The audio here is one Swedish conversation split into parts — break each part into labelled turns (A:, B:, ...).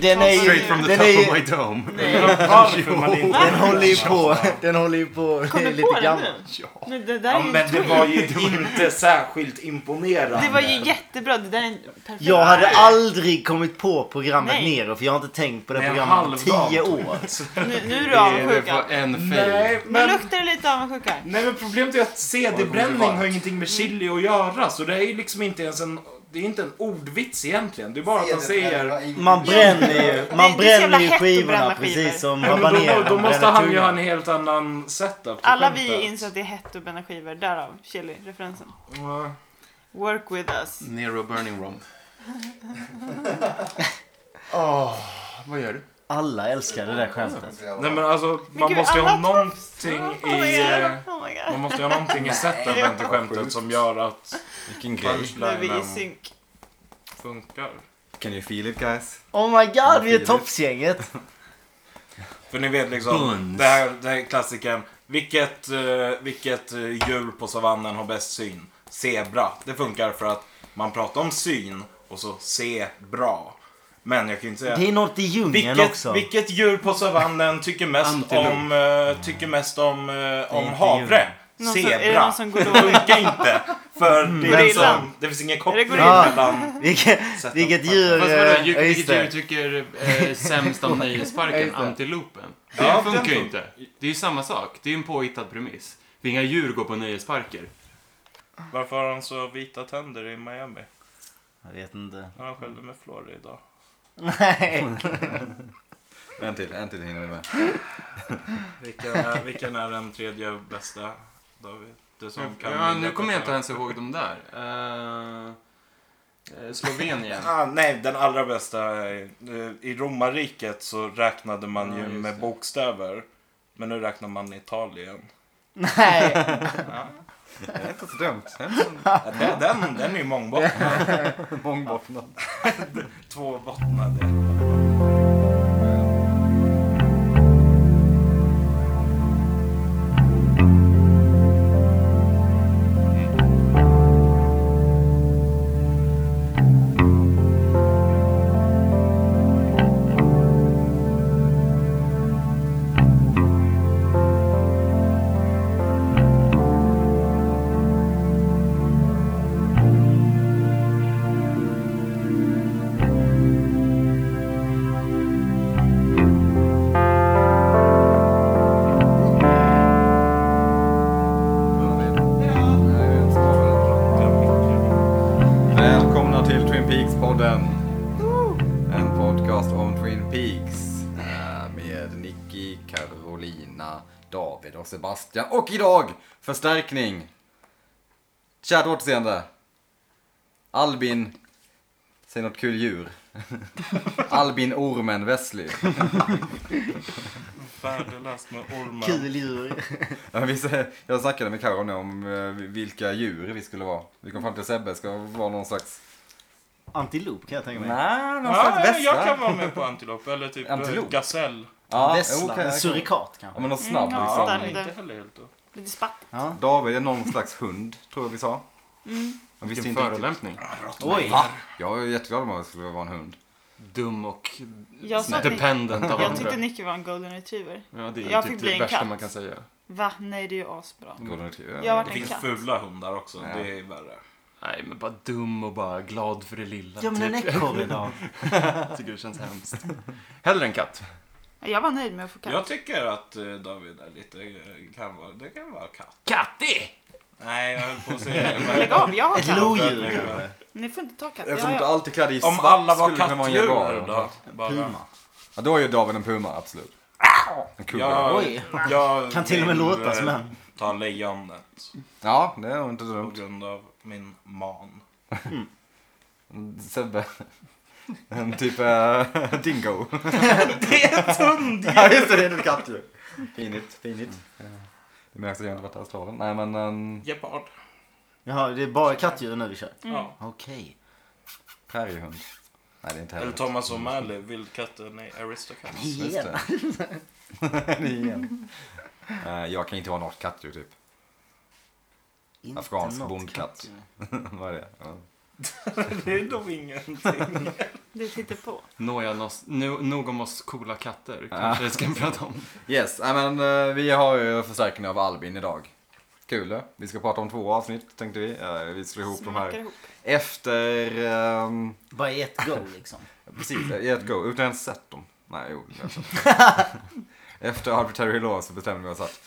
A: Den är ju...
B: Straight from the
A: Den
B: top
A: är
B: of
A: ju...
B: my dome.
C: Varför man inte...
A: Den håller ju på, den håller ju på
D: Kommer på
A: lite
D: den
A: gammal.
D: nu?
B: Ja.
D: Nej, det där
C: Ja,
D: är ju
C: men det var ju inte särskilt imponerande.
D: Det var ju jättebra. Det där är en perfekt.
A: Jag hade aldrig kommit på programmet
D: Nej.
A: Nero för jag har inte tänkt på det
C: Nej,
A: programmet på
C: halvdant.
A: tio år.
D: Nu, nu är
B: Det
D: du
B: är det
D: avundsjuk.
B: var en fail.
C: Nej,
D: Men
C: men...
D: luktar det lite avundsjuka?
C: Nej, men problemet är att CD-bränning har ingenting med chili att göra. Så det är ju liksom inte ens en... Det är inte en ordvits egentligen. Det är bara att han säger...
A: Man bränner ju,
D: Det är
A: man
D: så jävla
A: bränner ju
D: hett att
A: skivorna
D: bränna
A: precis
D: skivor.
A: som
C: Nej, men
A: habanero
C: då, då måste
A: bränner
C: han ju ha en
A: tungan.
C: helt annan setup. till
D: Alla vi
C: skämtet.
D: inser att det är hett och bränna skivor. Därav chili-referensen.
C: Ja.
D: Work with us.
B: Nero Burning Rom. Vad gör du?
A: Alla älskar det där skämtet.
C: Nej men alltså, man
D: gud,
C: måste ju ha
D: alla tar-
C: någonting i... eh,
D: Oh my
C: Man
D: god.
C: måste ju ha någonting i setupen till skämtet som gör att
E: Vilken grej.
D: Nu är vi i
C: punchlinen
D: synk.
C: funkar.
E: Can you feel it guys?
A: Oh my god, vi är
E: Filip.
A: toppsgänget.
C: För ni vet liksom,
E: Buns.
C: det här, det här är klassikern. Vilket, eh, vilket eh, djur på savannen har bäst syn? Zebra. Det funkar för att man pratar om syn och så se bra. Men jag kan ju inte säga...
A: Det är något i djungeln
C: Vilket,
A: också.
C: vilket djur på savannen tycker mest
B: Antilop.
C: om, eh, tycker mest om, eh, om
A: inte
C: havre?
D: Någon som- är det
C: Zebra.
D: någon som går
C: Det
D: då?
C: funkar inte. För
A: Mm.
C: det, är
D: Gorillan.
C: liksom, det finns ingen koppling
D: gorillan?
C: mellan...
A: Vilket,
C: Sätt
A: vilket
C: dem.
A: djur...
B: Fast vadå,
A: ja,
B: djur,
A: just
B: vilket
A: det.
B: djur tycker eh, sämst om nöjesparken? Antilopen. Det
C: Ja, den
B: funkar ju
C: fun-
B: inte. Det är ju samma sak. Det är ju en påhittad premiss. För inga djur går på nöjesparker.
C: Varför har han så vita tänder i Miami?
A: Jag vet inte.
C: Han skällde med Florida idag.
A: Nej.
E: En till, en till hinner vi med.
C: Vilken är, vilken är den tredje bästa? David? Du som kan
B: Ja, nu kommer jag inte ens ihåg de där. Eh, eh, Slovenien.
C: Ah, nej, den allra bästa är, eh, I romarriket så räknade man ju
B: Ja, just
C: med
B: det.
C: bokstäver. Men nu räknar man Italien.
A: Nej.
E: Det är inte så dumt.
C: Ja, den, den, den är ju mångbottnad.
E: Mångbottnad.
C: Tvåbottnad.
E: Välkomna till Twin Peaks-podden. En podcast om Twin Peaks eh, med Nicky, Carolina, David och Sebastian. Och idag, förstärkning. Kärt återseende. Albin, säg något kul djur. Albin Ormen Wesley.
C: Värdelöst med ormar.
A: Kul djur.
E: Ja, vi sä- Jag snackade med Karo nu om eh, vilka djur vi skulle vara. Vi kom fram till att Sebbe ska vara någon slags...
A: Antilop kan jag tänka mig.
E: Nej, någon slags
C: Ja,
E: vässla.
C: jag kan vara med på antilop eller typ eh,
E: Antilop?
C: gasell.
E: Ja,
A: Vessla.
E: okej,
A: en
E: okej.
A: surikat
E: Ja,
A: kanske.
E: men någon snabb
D: Mm,
E: liksom.
D: ja.
C: Nej, inte heller helt då.
D: Lite spatt.
A: Ja.
E: David är någon slags hund, tror jag vi sa. Jag visste
B: Vilken
E: inte riktigt.
B: förolämpning.
A: Oj.
E: Jag är jätteglad om jag skulle vara en hund.
B: Dum och
D: Jag, sa att Nick,
B: dependent av
D: jag
B: andra.
D: tyckte Nicky var en golden retriever.
B: Ja, det är
D: jag
B: ju typ
D: fick bli
B: det
D: en
B: värsta
D: katt.
B: man kan säga.
D: Va? Nej, det är ju asbra.
E: Golden retriever.
D: Jag har
C: Det
D: varit en
C: finns
D: katt.
C: fula hundar också.
E: Ja.
C: Det är värre.
B: Nej, men bara dum och bara glad för det lilla.
A: Ja men en
B: typ.
A: ekorre då.
B: Jag tycker det känns hemskt. Hellre en katt.
D: Jag var nöjd med att få katt.
C: Jag tycker att eh, David är lite, eh, kan vara, det kan vara katt.
B: Katti!
C: Nej, jag höll på att säga
D: Lägg
C: men
D: av, jag har
A: Ett
D: katt.
A: lodjur kanske.
D: Ni får inte ta katt.
E: Eftersom
D: Jag
E: inte
D: har-
E: allt är klädd i svart
C: Om alla var
E: skulle det kunna vara en
C: kattdjur då?
E: jaguar.
C: Bara.
A: Puma.
E: Ja, då är ju David en puma, absolut. En kugge. Ja.
C: Jag,
A: Oj.
C: jag
A: Kan till och med
C: vill,
A: låta
C: eh,
A: som en.
C: Ta lejonet
E: det är nog inte så
C: på
E: dumt.
C: grund av min man.
E: Sebbe. En typ eh, dingo. det är ett hunddjur! ja, just det, det är ett kattdjur. Finigt, finigt. Det märks att jag inte varit i Australien. Nej, men... Um,
C: Gepard.
A: Jaha, det är bara kattdjur nu vi kör.
C: Ja.
A: Okej.
E: präriehund. Nej, det är inte heller.
C: Eller Thomas O'Malley, vildkatten i Aristocats.
E: Just
A: Igen.
E: det. Det är igen. Eh, jag kan inte vara något kattdjur, typ.
A: Inte
E: Afghansk
A: något
E: bondkatt.
A: kattdjur.
E: Vad är det? Ja.
C: det är nog ingenting.
D: Det sitter på.
F: Nåja, nos, no, nog om oss coola katter. Kanske vi ska prata om.
E: Yes, nej men eh, vi har ju förstärkning av Albin idag. Kul eh? Vi ska prata om två avsnitt tänkte vi. Eh, Vi slår ihop de
D: Smakar
E: här
D: ihop.
E: efter... ehm,
A: Bara i ett go liksom.
E: Precis, eh, i ett go. Utan ens sett dem. Nej, jo. jag har sett dem. Efter Arbitrary Law så bestämde vi oss att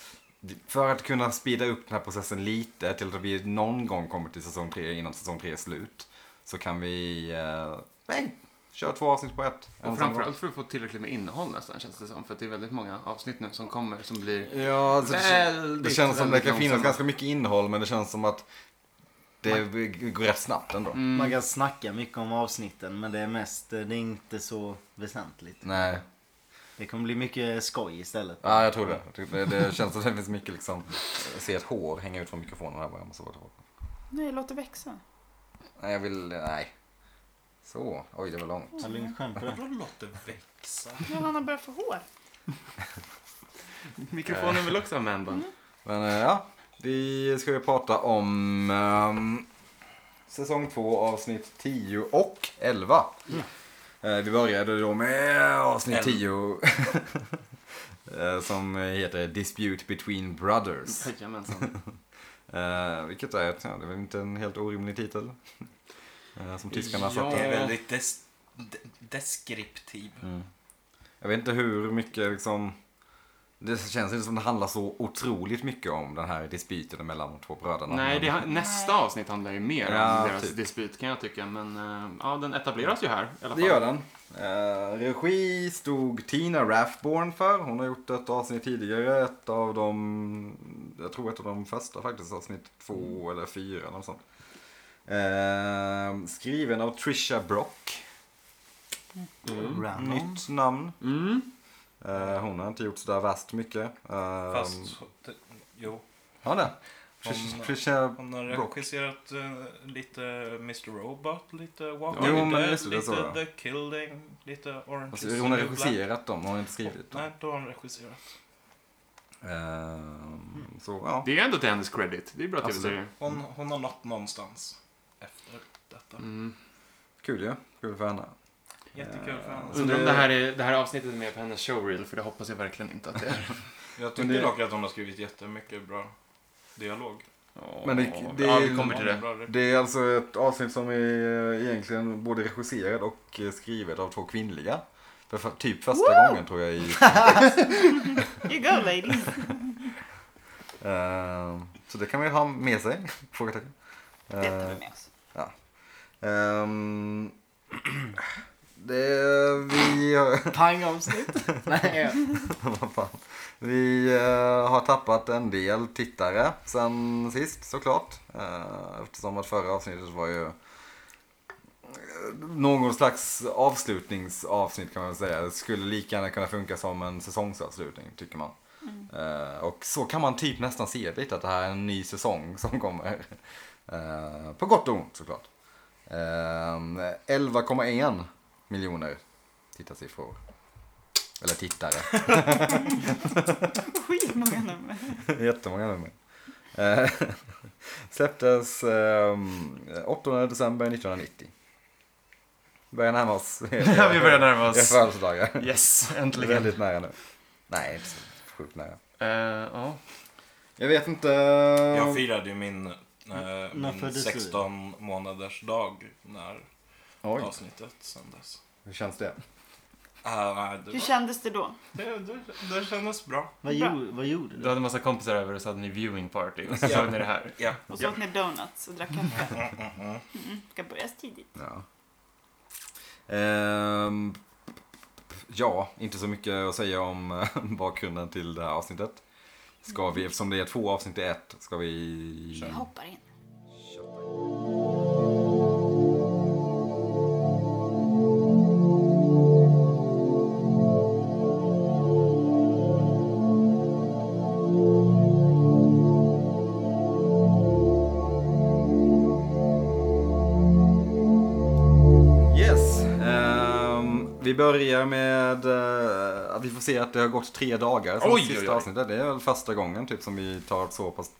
E: för att kunna speeda upp den här processen lite till att vi någon gång kommer till säsong 3 innan säsong 3 är slut. Så kan vi... Eh, nej, köra två avsnitt på ett. En samma gång.
F: Och framförallt för att få tillräckligt med innehåll nästan känns det som. För att det är väldigt många avsnitt nu som kommer som blir
E: Ja, alltså, det,
F: väldigt,
E: det känns som det
F: väldigt
E: kan finnas
F: långsamma.
E: ganska mycket innehåll men det känns som att det går rätt snabbt ändå.
A: Man kan snacka mycket om avsnitten men det är mest, eh, det är inte så väsentligt.
E: Nej,
A: Det kommer bli mycket skoj istället.
E: ja, jag tror det. Jag tror det. Det känns som det finns mycket liksom, se ett hår hänga ut från mikrofonen här bara. Jag måste bara ta bort.
D: Nej, låt det växa.
E: Nej, jag vill... Nej. Så. Oj, det var långt.
A: Har lugnt skämt på det.
C: Vadå låt det växa?
D: Ja, han har börjat få hår.
F: Mikrofonen vill också ha manband.
E: Men eh, ja, vi ska ju prata om ehm, säsong 2, avsnitt 10 och 11.
F: Mm.
E: Eh, vi började då med avsnitt 10 eh, som heter Dispute Between Brothers.
F: Jajamensan. Mm.
E: Eh, vilket är, ett, ja, det är väl inte en helt orimlig titel. Eh, som tyskarna
F: Ja.
E: satte.
C: Det är väldigt des- de- deskriptiv.
E: Mm. Jag vet inte hur mycket liksom... Det känns inte som det handlar så otroligt mycket om den här dispyten mellan de två bröderna.
F: Nej, det, ha- nästa avsnitt handlar ju mer
E: Ja,
F: om deras
E: typ.
F: dispyt kan jag tycka. Men eh, ja, den etableras ju här i alla fall.
E: Det gör den. Eh, regi stod Tina Rathborn för. Hon har gjort ett avsnitt tidigare. Ett av de, jag tror ett av de första faktiskt. Avsnitt två
C: Mm.
E: eller fyra eller något sånt. Eh, skriven av Trisha Brock. Mm.
A: Random.
E: Nytt namn.
F: Mm.
E: Eh, hon har inte gjort sådär värst mycket. Eh,
C: Fast, jo.
E: Ja, det.
C: Hon-
E: Trisha
C: Hon har
E: Brock.
C: regisserat eh, lite Mr Robot, lite Walking
E: Jo, men
C: Dead,
E: just det, det
C: lite
E: sa jag.
C: The Killing, lite Orange
E: Alltså,
C: is the
E: hon har
C: New
E: regisserat dem, hon har inte
C: Black.
E: skrivit dem.
C: Nej, då har hon regisserat.
E: Ehm,
C: Mm.
E: så, ja.
F: Det är ändå till hennes credit. Det är bra
E: Absolut.
F: tv-serier.
C: Hon, hon har nått någonstans efter detta.
F: Mm.
E: Kul ju. Kul för henne.
C: Jättekul för henne.
E: Alltså,
F: Undrar om det här, är, det här avsnittet är med på hennes showreel, för det hoppas jag verkligen inte att det är.
C: Jag
F: Men
C: tycker
F: det-
C: dock att hon har skrivit jättemycket bra dialog.
E: Men det- det-
F: ja, vi kommer till
C: Hon har
F: det.
C: bra rep-
E: Det är alltså ett avsnitt som är eh, egentligen både regisserat och eh, skrivet av två kvinnliga. För, för typ första gången tror jag i...
D: You go ladies.
E: Ehm, så det kan man ju ha med sig. Frågetecken.
D: Det tar vi
E: Ehm,
D: med oss.
E: ehm, det vi...
A: Pangavsnitt. Nej.
E: Vad fan. Vi eh, har tappat en del tittare sen sist såklart. Eh, eftersom att förra avsnittet var ju eh, någon slags avslutningsavsnitt kan man väl säga. Det skulle lika gärna kunna funka som en säsongsavslutning tycker man. Eh, och så kan man typ nästan se lite att det här är en ny säsong som kommer. Eh, på gott och ont såklart. Eh, 11,1 miljoner tittarsiffror. Eller tittare.
D: Skitmånga nummer.
E: Jättemånga nummer. Eh, Släpptes ehm, 8 december 1990. Börjar närma oss.
F: vi börjar närma
E: Jag
F: oss.
E: födelsedagar.
F: Yes, äntligen.
E: Väldigt nära nu. Nej, inte så sjukt nära.
F: Eh, ja.
E: Jag vet inte.
C: Jag firade ju min, eh, min
A: föddes du?
C: 16 månaders dag när
E: Oj,
C: avsnittet sändes.
E: hur känns det?
C: Ah, det,
D: Hur
C: var,
D: kändes det då?
C: det, det, det kändes bra.
A: Vad, gjorde, vad gjorde
F: Du
A: du?
F: hade en massa kompisar över och så hade ni viewing party och så
C: Ja.
F: såg ni det här.
C: Ja.
D: Och så åt ni donuts och drack kaffe. Mm, ska börja tidigt.
E: Ja. Ehm, ja, inte så mycket att säga om eh, bakgrunden till det här avsnittet. Ska vi, eftersom det är två avsnitt i ett, ska vi...
D: Jag hoppar in.
E: Yes. ehm, vi börjar med eh, att vi får se att det har gått tre dagar sedan
F: Oj,
E: sista
F: oj, oj.
E: avsnittet. Det är väl första gången typ som vi tar ett så pass...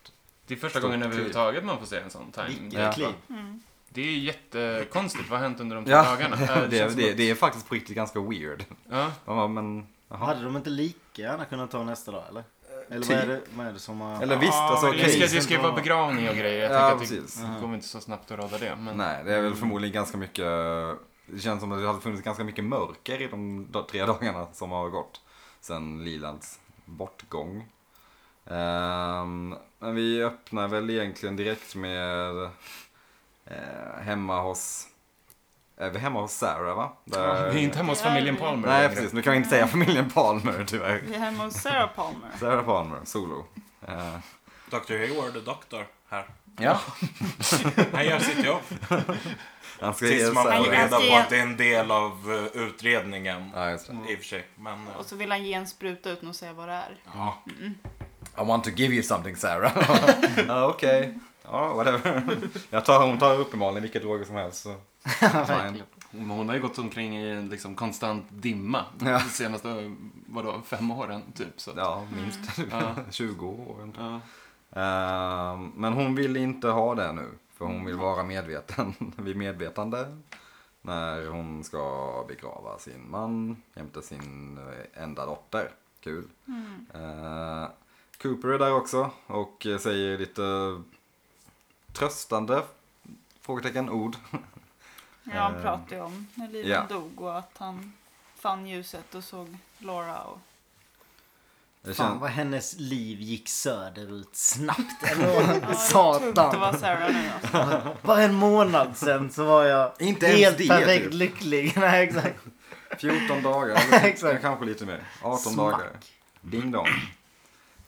F: Det är första gången överhuvudtaget man får se en sån time.
A: Vilket klipp.
F: Det är jättekonstigt. Vad har hänt under de två
E: Ja,
F: dagarna? Eh,
E: det, är-
F: känns som
E: det,
F: att-
E: det är faktiskt på riktigt ganska weird.
F: Ja.
E: Man bara, men, jaha.
A: Hade de inte lika gärna kunnat ta nästa dag eller? Eller vad,
E: typ.
A: är det, vad är det som har...
E: Eller visst, alltså
F: men det,
E: okej.
F: ska, det ska ju vara begravning och grejer. Jag
E: Ja,
F: tänker att
E: precis. Mm.
F: det- det kommer inte så snabbt att råda det. Men...
E: Nej, det är väl förmodligen ganska mycket. Det känns som att det hade funnits ganska mycket mörker i de da- tre dagarna som har gått sen Lilands bortgång. Ehm, men vi öppnar väl egentligen direkt med eh, hemma hos är vi hemma hos Sarah va?
F: Ja, Vi är inte hemma hos
D: Ja,
F: familjen
D: vi-
F: Palmer
E: Nej
F: längre.
E: precis, nu kan vi inte säga familjen Palmer tyvärr.
D: Vi är hemma hos Sarah Palmer.
E: Sarah Palmer, solo. Eh,
C: Dr Hayward, doktor, här.
E: ja,
C: Han gör sitt jobb.
E: han ska ge
C: Tills man
E: Sarah.
C: får
D: Han- han
C: reda
D: ska
C: på
D: ge-
C: att det är en del av eh, utredningen.
E: Ja, just det.
C: I och för sig. Men, eh,
D: Och så vill han ge en spruta utan att säga vad det är.
E: Ja. I want to give you something Sarah. Ja, Ah, Okej. Ja, whatever. Jag tar, hon tar uppenbarligen vilka droger som helst. Så. Fine.
F: Men Hon har ju gått omkring i en liksom konstant dimma
E: Ja.
F: de senaste vadå, fem åren typ. Så. att-
E: Ja, minst
F: Ja.
E: 20 år. eller nåt.
F: Ja.
E: Ehm, men hon vill inte ha det nu. För hon vill vara medveten vid medvetande. När hon ska begrava sin man jämte sin eh, enda dotter. Kul. Eh, Cooper är där också och eh, säger lite tröstande frågetecken ord.
D: Ja, han
E: Eh,
D: pratade ju om när Lilan
E: ja.
D: dog och att han fann ljuset och såg Laura. Och...
E: Det
A: Fan
E: känns,
A: vad hennes liv gick söderut snabbt ändå.
D: Ja, Det är tungt att
A: Satan.
D: vara Sarah nu alltså.
A: Bara en månad sen så var jag
E: Inte ens
A: helt
E: det,
A: perfekt
E: typ.
A: lycklig. Nej exakt.
E: 14 dagar, eller
A: Exakt.
E: kanske lite mer. 18
A: Smack.
E: dagar. Ding dong.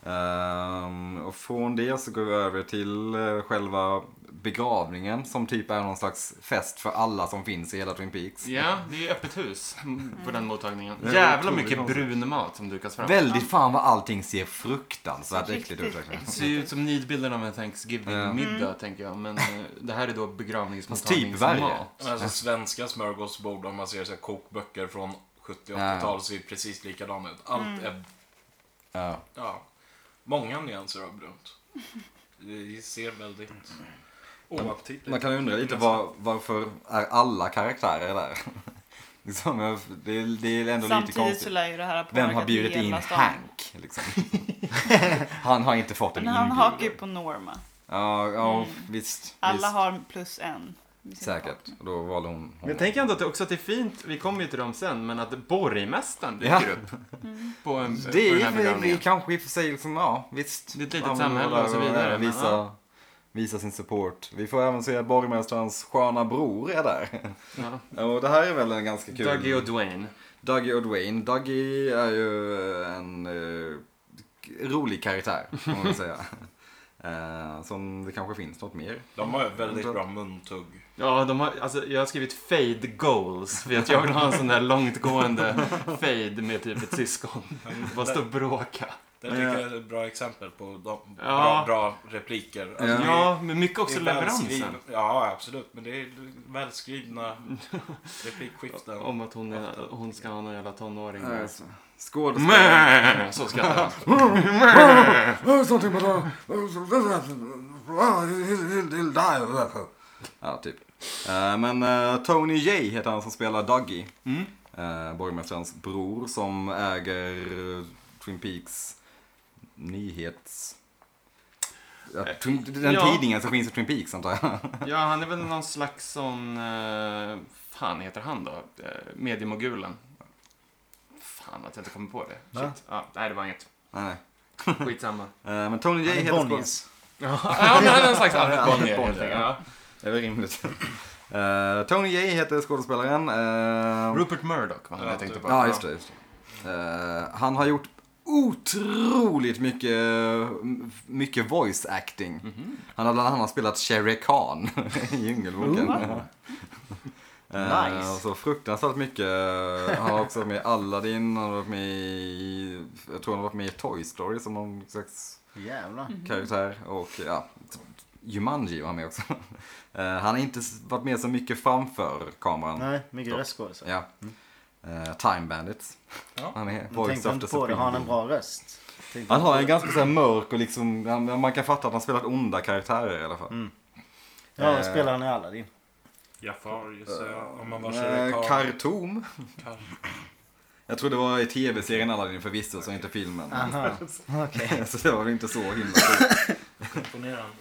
E: Ehm, och från det så går vi över till eh, själva begravningen som typ är någon slags fest för alla som finns i hela Twin Peaks.
F: ja, det är öppet hus på den mottagningen.
E: Det är
F: Jävla
E: otroligt
F: mycket
E: konstigt.
F: brun mat som dukas fram.
E: Väldigt fan vad allting ser fruktansvärt äckligt ut.
D: Riktigt
E: verkligen.
F: Det ser ju ut som nidbilden av en Thanksgiving-middag,
D: Ja.
F: tänker jag. Men eh, det här är då
E: Fast typ
F: begravningsmottagningsmat.
C: men alltså, svenska smörgåsbord, om man ser så här, kokböcker från 70 och
E: Ja.
C: 80-tal, ser precis likadana ut. Allt är...
E: Ja.
C: Ja, många nyanser av brunt. Det ser väldigt oaptitligt
E: Man kan undra lite var, varför är alla karaktärer där? liksom, jag- det, är- det är ändå lite
D: Samtidigt
E: konstigt.
D: så lär ju det här ha
E: Vem har
D: påverkat
E: bjudit in
D: hela stan.
E: Hank? Liksom? han har inte fått en
D: Men
E: inbjudan.
D: han hakar ju på Norma.
E: Ja, ja
D: Mm.
E: visst.
D: Alla
E: visst.
D: har plus en. i sin
E: Säkert.
D: partner.
E: Och då valde hon honom.
F: Men jag tänker ändå att det också att det är fint, vi kommer ju till dem sen, men att borgmästaren dyker
E: Ja.
F: upp på, en, på
E: Det är väl-
F: den här
E: det är
F: begravningen.
E: kanske i och för sig liksom, ja visst.
F: Det är ett
E: Ja,
F: litet
E: men
F: samhälle
E: där
F: och så vidare, men
E: Visa,
F: ja.
E: visa sin support. Vi får även se att borgmästarens sköna bror är där.
F: Ja.
E: Och det här är väl en ganska kul...
F: Dougie och Dwayne.
E: Dougie och Dwayne. Dougie är ju en eh, rolig karaktär, får man väl säga. Eh, som det kanske finns något mer.
C: De har väldigt
E: Mm.
C: bra muntugg.
F: Ja, de har, alltså, jag har skrivit fade goals. För att jag vill ha en sån där långtgående fade med typ ett syskon. Bara stå och bråka.
C: Det tycker jag är ett bra exempel på de
F: Ja.
C: bra, bra repliker. Alltså, det är-
F: Ja, men mycket också
C: det är välskriv-
F: leveransen.
C: Ja, absolut. Men det är välskrivna replikskiften.
F: Om att hon, är, hon ska ha någon jävla tonåring.
E: Eh,
F: där.
E: så- Skådespelare.
F: Mäh! Så skrattar han.
E: Ja, typ. Eh, Men eh, Tony J heter han som spelar Dougie. Mm. Borgmästarens bror som äger eh, Twin Peaks nyhets... Ja, Twin- den
F: ja.
E: tidningen som finns i Twin Peaks antar jag.
F: Ja, han är väl någon slags sån... Eh, fan heter han då? Eh, Mediemogulen. Fan att jag inte kommer på det.
A: Va?
F: Shit. Ja, nej, det var inget.
E: Nej, nej.
F: Skitsamma.
E: Eh, Men Tony J
A: Han är
E: heter skådespelaren.
A: Bonniers.
F: ja, men han är någon slags Albert Bonnier.
E: Bonnier,
F: helt enkelt.
E: ja.
F: Ja.
E: Det är väl rimligt. Eh, Tony J heter skådespelaren. Eh,
F: Rupert Murdoch var han
C: Ja,
F: jag tänkte
C: typ.
F: på.
E: Ja, just det. Just det. Eh, han har gjort otroligt mycket, mycket voice acting. Han har bland annat spelat Shere Khan i Djungelboken. Eh,
A: Nice.
E: och så fruktansvärt mycket. Han har också varit med i Aladdin, han har varit med i, jag tror han har varit med i Toy Story som någon slags
A: Jävlar.
E: Mm. karaktär. Och ja, Jumanji var han med också. Eh, han har inte s- varit med så mycket framför kameran.
A: Nej, mycket
E: Stopp.
F: typ.
A: röstskådisar.
E: Ja.
F: Mm.
E: Eh, Time Bandits.
C: Ja.
E: Han är
A: Jag
E: voice
A: tänkte
E: after
A: inte på det. Har han en
E: Supreme.
A: bra röst? Tänkte
E: Han har en
A: inte-
E: ganska så här mörk och
F: Mm.
E: liksom, han- man kan fatta att han spelat onda karaktärer i alla fall.
A: Ja, spelar han i Aladdin?
C: Jafar gissar jag. Om man var
A: Mm.
E: Eh,
C: Shere Khan.
E: Khartoum.
C: Kar-
E: Jag tror det var i tv-serien Aladdin förvisso, så inte filmen.
A: Aha, okej.
E: så det var väl inte så himla stort.
C: Imponerande.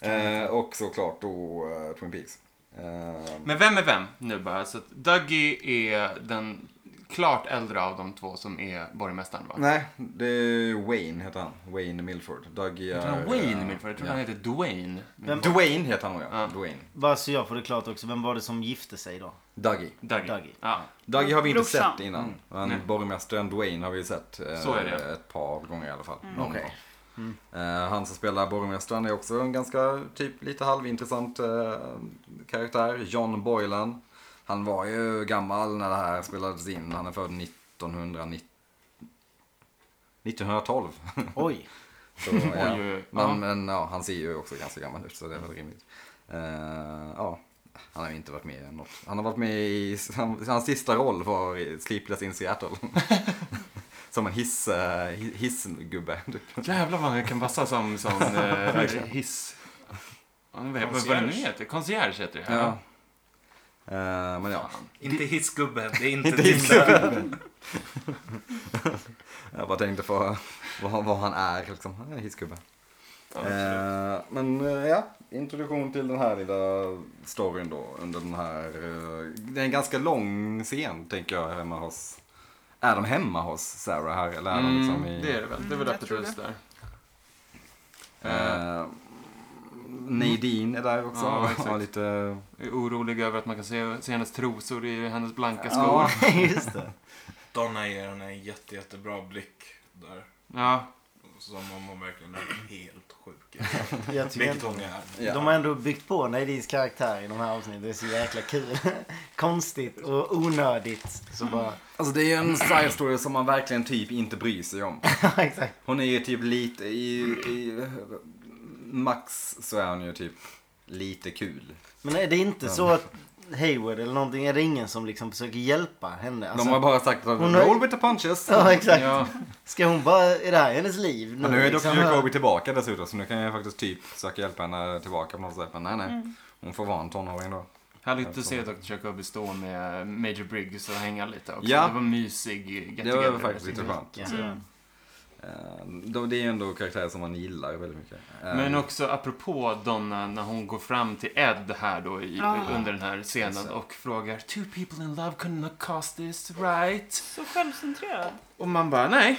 E: eh, Och såklart då eh, Twin Peaks. Eh,
F: Men vem är vem nu bara? Så att Dougie är den klart äldre av de två som är borgmästaren va?
E: Nej, det är Wayne heter han. Wayne Milford. Dougie
F: Jag tror han
E: är...
F: Wayne
E: eh,
F: min för jag tror
E: ja.
F: han heter Dwayne.
A: Vem-
E: Dwayne heter han nog ja.
F: Ja.
E: Dwayne.
A: Bara så jag får det klart också, vem var det som gifte sig då?
E: Dougie.
F: Dougie.
A: Dougie.
F: Ja.
E: Dougie har vi inte
D: Brorsan.
E: sett innan. Men
F: Mm. Nej.
E: borgmästaren Dwayne har vi sett eh,
F: Så är det. Mm.
E: ett par gånger i alla fall. Någon
A: Okej.
E: gång. Eh, han som spelar borgmästaren är också en ganska typ lite halvintressant eh, karaktär. John Boylan. Han var ju gammal när det här spelades in. Han är född 1990. 1912.
A: Oj,
E: Så, ja.
F: oj, oj.
E: Men,
F: Ja.
E: men ja, han ser ju också ganska gammal ut så det är väl rimligt. Eh, ja, han har ju inte varit med i något. Han har varit med i, han, hans sista roll var i Sleepless in Seattle. Som en hiss, eh, hi- hissgubbe. typ.
F: Jävlar vad han kan passa som, som eh, hiss... Ja, nu vet jag Vad vad det nu
C: Concierge.
F: heter? Concierge heter det.
E: Ja. Eh, men ja,
C: Inte hissgubben, det är inte,
E: Inte
C: din där.
E: jag bara tänkte på vad, han- vad han är liksom. Han är en hissgubbe. Eh, men eh, ja, introduktion till den här lilla storyn då. Under den här, eh, det är en ganska lång scen tänker jag hemma hos. Är de hemma hos Sarah här eller är de liksom i?
F: Mm, det är det väl. Det är väl
D: Mm, jag
F: öppet
D: tror
F: hus där.
E: Eh, Nadine är där också.
F: Ja,
E: Ja,
F: exakt.
E: lite, ja,
F: Jag är orolig över att man kan se, se hennes trosor i hennes blanka skor.
E: Ja.
F: Ja.
A: just det.
C: Donna ger henne en jätte, jättebra blick där. Som om hon verkligen är helt sjuk.
A: Jag tycker
C: Vilket
A: ändå-
C: hon är.
A: De har ändå byggt på Nadines karaktär i de här avsnitten. Det är så jäkla kul. Konstigt och onödigt. Så bara...
E: Alltså det är en side story som man verkligen typ inte bryr sig om.
A: Exakt.
E: Hon är ju typ lite i, i max så är hon ju typ lite kul.
A: Men är det inte så att Hayward eller någonting, är det ingen som liksom försöker hjälpa henne? Alltså,
E: De har bara sagt att
A: hon har-
E: roll with the punches.
A: Ja, exakt.
F: Ja.
A: Ska hon bara, är det här hennes liv nu?
E: Men nu är Dr.
A: liksom?
E: Jacobi tillbaka dessutom så nu kan jag faktiskt typ försöka hjälpa henne tillbaka på något sätt. Men nej, nej. Hon får vara en tonåring då.
F: Härligt att se Dr. Jacobi stå med Major Briggs och hänga lite också.
E: Ja.
F: Det var mysig get
E: Det var
F: together.
E: faktiskt lite skönt.
A: Ja.
D: Mm.
E: Eh, då- Det är ju ändå karaktärer som man gillar väldigt mycket. Eh,
F: Men också apropå Donna när hon går fram till Ed här då i,
D: Ja.
F: under den här scenen och frågar Two people in love couldn't have cost this right?
D: Så självcentrerad.
F: Och man bara nej,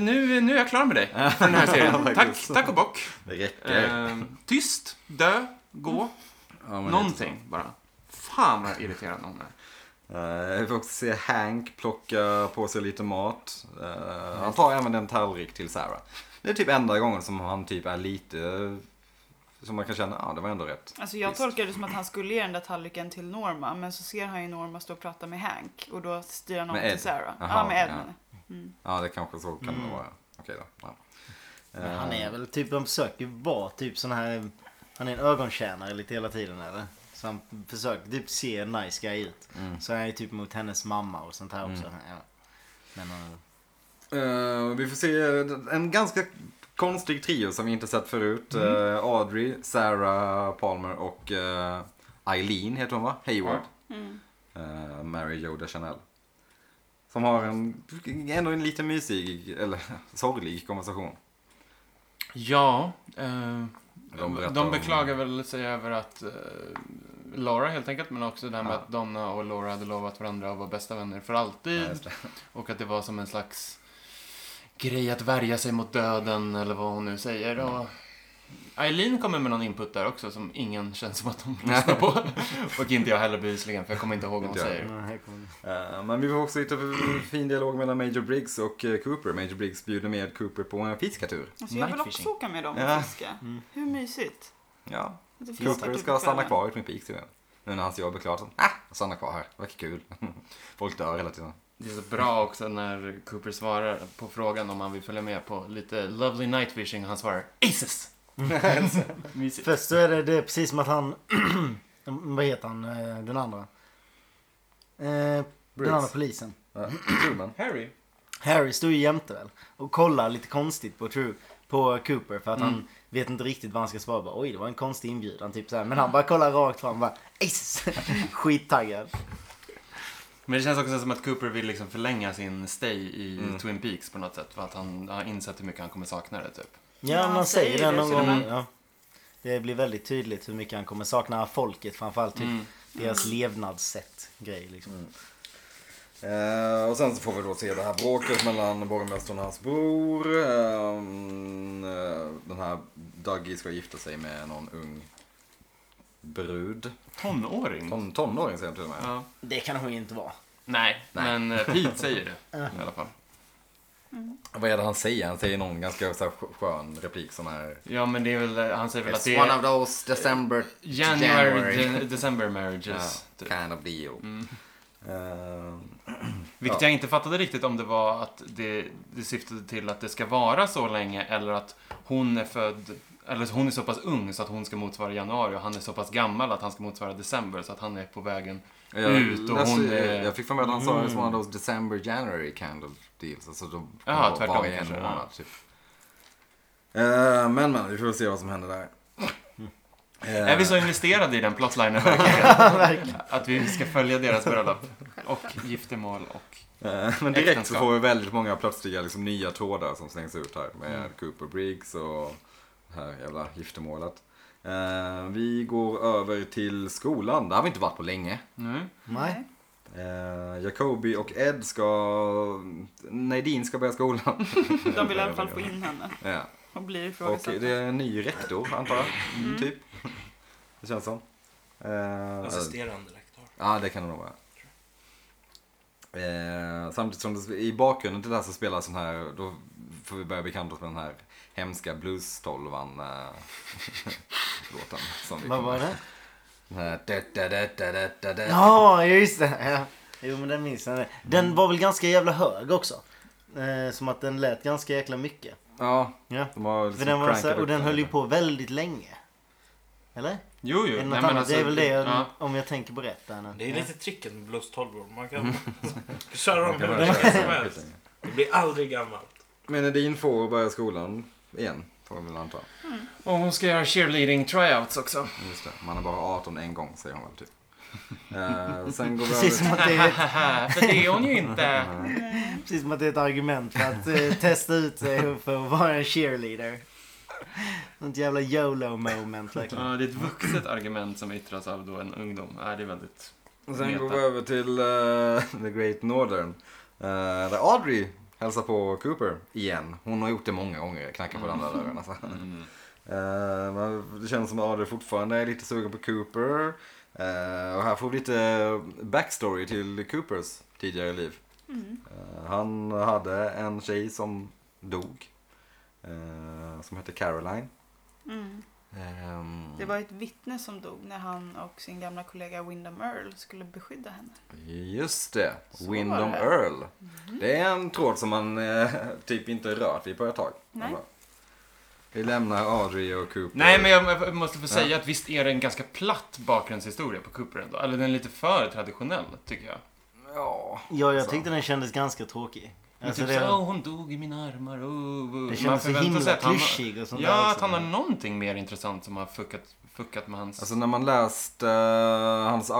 F: nu, nu är jag klar med dig för den här serien. Tack, tack och bock.
E: Det
A: eh,
E: räcker.
F: Ehm, tyst, dö, gå,
E: Ja, men
F: någonting bara. Fan vad irriterande hon är.
E: Eh, Vi får också se Hank plocka på sig lite mat. Eh, Han tar även en tallrik till Sarah. Det är typ enda gången som han typ är lite... Som man kan känna, ja ah, det var ändå rätt.
D: Alltså jag
E: Visst.
D: tolkar det som att han skulle ge den där tallriken till Norma, men så ser han ju Norma stå och prata med Hank och då styr han om
E: Med Ed.
D: till Sarah.
E: Aha,
D: ja, med Ed
E: ja.
D: menar jag.
E: Ja, det kanske så kan det vara. Okej då. Ja.
A: Mm. Men
E: Eh,
A: Han är väl typ, de försöker ju vara typ sån här, han är en ögontjänare lite hela tiden eller? Så han försöker typ se nice guy ut.
E: Mm.
A: Så han är ju typ mot hennes mamma och sånt här också. Ja. Men, eh,
E: Eh, vi får se en ganska konstig trio som vi inte sett förut.
A: Mm.
E: Eh, Audrey, Sarah Palmer och eh, Eileen heter hon va? Hayward. Eh, Mary Joda Chanel. Som har en, ändå en lite mysig, eller sorglig konversation.
F: Ja, eh,
E: De
F: de,
E: berättar om-
F: beklagar väl sig över att eh, Laura helt enkelt, men också det här med
E: Ja.
F: att Donna och Laura hade lovat varandra att vara bästa vänner för alltid. Och att det var som en slags grej att värja sig mot döden eller vad hon nu säger. Och Eileen kommer med någon input där också som ingen känns som att de lyssnar på. och inte jag heller bevisligen, för jag kommer inte ihåg vad hon
E: Inte jag.
F: säger.
A: men här kommer-
E: Eh, Men vi får också hitta fin dialog mellan Major Briggs och eh, Cooper. Major Briggs bjuder med Cooper på en fiskatur.
D: Alltså jag vill
A: Night fishing.
D: också åka med dem och
E: Ja.
D: fiska. Hur mysigt.
E: Ja,
D: Att det finns
E: Cooper
D: saker
E: ska
D: på
E: stanna
D: kvällen.
E: kvar i Twin Peaks tydligen. Nu när hans jobb är klart. så, Ah, stanna kvar här, det verkar kul. Folk dör hela tiden.
F: Det är så bra också när Cooper svarar på frågan om han vill följa med på lite Lovely Night Fishing. Han svarar Aces! Mysigt.
A: Först så är det, det är precis som att han, vad heter han, eh, den andra? Eh, den
E: Briggs.
A: andra polisen.
E: Ja, Truman.
F: Harry.
A: Harry står ju jämte väl och kollar lite konstigt på True, på Cooper för att han vet inte riktigt vad han ska svara. Bara, Oj, det var en konstig inbjudan. Typ så här. Men han bara kollar rakt fram och bara "Ace!" Skittaggad.
F: Men det känns också som att Cooper vill liksom förlänga sin stay i Twin Peaks på något sätt. För att han har insett hur mycket han kommer sakna det typ.
A: Ja,
D: Ja,
A: man
D: han
A: säger
D: säger
A: det
D: det
A: någon
D: till och
A: gång.
D: med.
A: Ja. Det blir väldigt tydligt hur mycket han kommer sakna folket framförallt. Typ deras levnadssätt. Grej liksom.
E: Eh, och sen så får vi då se det här bråket mellan borgmästaren och hans bror. Ehm, eh, den här Dougie ska gifta sig med någon ung brud.
F: Tonåring?
E: Ton, tonåring säger han till och med.
F: Mm. Ja.
A: Det kan hon ju inte vara.
F: Nej, men eh, Pete säger det i alla fall.
E: Vad är det han säger? Han säger någon ganska så här sk- skön replik som är...
F: Ja, men det är väl, eh, han säger väl att
G: It's
F: det
G: one of
F: är
G: those December to
F: January, de- December marriages. typ.
E: kind of deal. Ehm,
F: Vilket jag inte fattade riktigt om det var att det, det syftade till att det ska vara så länge eller att hon är född, eller hon är så pass ung så att hon ska motsvara januari och han är så pass gammal att han ska motsvara december så att han är på vägen.
E: jag,
F: Mm. Ut och
E: läste-
F: hon är- Mm.
E: jag fick för mig att han sa it's one of those December January kind of deals. Alltså de
F: Jaha,
E: kommer
F: tvärtom
E: vara i en
F: kanske, ja.
E: månad typ. Ehm, men men, vi får se vad som händer där. Ehm,
F: Är vi så investerade i den plotlinen verkligen? att vi ska följa deras bröllop och giftermål och...
E: Eh, Men direkt så
F: Äktenskap.
E: får vi väldigt många plötsliga liksom, nya trådar som slängs ut här med
F: Mm.
E: Cooper Briggs och det här jävla giftermålet. Eh, Vi går över till skolan, där har vi inte varit på länge.
F: Nu?
A: Nej.
E: Eh, Jacobi och Ed ska... Nadine ska börja skolan.
D: De vill i alla fall få in henne
E: Ja.
D: och blir
E: Och
D: ifrågasatta.
E: det är en ny rektor, antar jag. Typ. Det känns som. Eh,
C: Assisterande rektor.
E: Ja, det kan det nog vara. Eh, samtidigt som det, i bakgrunden till det här så spelar sån här, då får vi börja bekanta oss med den här hemska blues-tolvan eh, låten som vi
A: Vad var det?
E: Den här da, da, da, da, da, da, da.
A: Ja, just det. Ja. Jo, men den minns jag. Den
F: Mm.
A: var väl ganska jävla hög också. Eh, som att den lät ganska jäkla mycket.
E: Ja,
A: Ja.
E: de har liksom
A: För den var
E: crankat
A: så här, och
E: upp
A: den höll ju på väldigt länge. Eller?
F: Jo,
A: Är
F: jo.
A: det, något
F: Nej, men
A: annat?
F: alltså-
A: det är väl det jag-
F: Ja.
A: om jag tänker på rätt. Där nu.
C: Det är
A: Ja.
C: lite tricket med Blues 12 Man kan köra dem
E: Mm. Man kan bara
C: hur länge som
E: köra dem.
C: helst. Det blir aldrig gammalt.
E: Men Nadine får börja skolan igen, får man väl anta.
F: Och hon ska göra cheerleading tryouts också.
E: Just det, man är bara 18 en gång säger hon väl typ. Eh, sen går vi
A: Precis som,
E: över...
A: att det är,
F: Äh, För det är hon ju inte.
A: precis som att det är ett argument för att eh, testa ut sig för att vara en cheerleader. Något jävla YOLO moment
F: Ja,
A: verkligen.
F: det är ett vuxet argument som yttras av då en ungdom. Ja, det är väldigt...
E: Och sen går vi
F: Meta.
E: över till eh, The Great Northern. Eh, där Audrey hälsar på Cooper igen. Hon har gjort det många gånger, knackar på den där dörren. Alltså.
A: Mm.
E: Eh, men det känns som att Audrey fortfarande är lite sugen på Cooper. Eh, och här får vi lite backstory till Coopers tidigare liv. Eh, han hade en tjej som dog. eh, som hette Caroline.
D: Mm.
E: Ehm,
D: Det var ett vittne som dog när han och sin gamla kollega Wyndham Earl skulle beskydda henne.
E: Just det,
D: Så
E: Wyndham
D: var det.
E: Earl.
F: Mhm.
E: Det är en tråd som man eh, typ inte rört vid på ett tag.
D: Nej.
E: Alltså. Vi lämnar Audrey och Cooper.
F: Nej, men jag jag måste få säga att visst är det en ganska platt bakgrundshistoria på Cooper ändå. Eller den är lite för traditionell, tycker jag.
E: Ja.
A: Ja, jag
E: Så.
A: tyckte den kändes ganska tråkig.
F: Men
A: Alltså,
F: typ så,
A: det,
F: "Åh, hon dog i mina armar. Oh, oh.
A: det kändes så himla klyschig och sånt där
F: Ja,
A: också.
F: att han har någonting mer intressant som har fuckat, fuckat med hans...
E: Alltså när man läst eh, hans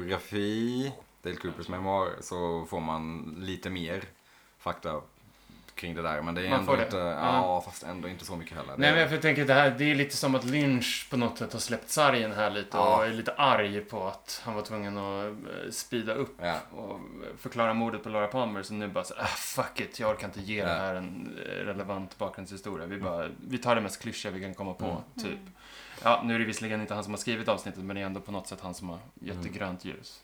E: autobiografi, Dale Coopers memoar, så får man lite mer fakta kring det där. Men det är
F: Man
E: ändå
F: får det.
E: inte,
F: Ja.
E: ja fast ändå inte så mycket heller.
F: Nej,
E: Det-
F: men jag tänker det här, det är lite som att Lynch på något sätt har släppt sargen här lite
E: Ja.
F: och är lite arg på att han var tvungen att eh, speeda upp
E: Ja.
F: och förklara mordet på Laura Palmer. Så nu bara så, ah, fuck it, jag orkar inte ge det
E: Ja.
F: här en eh, relevant bakgrundshistoria. Vi, bara, vi tar det mest klyschiga vi kan komma på, typ.
D: Mm.
F: Ja, nu är det visserligen inte han som har skrivit avsnittet, men det är ändå på något sätt han som har gett det grönt ljus.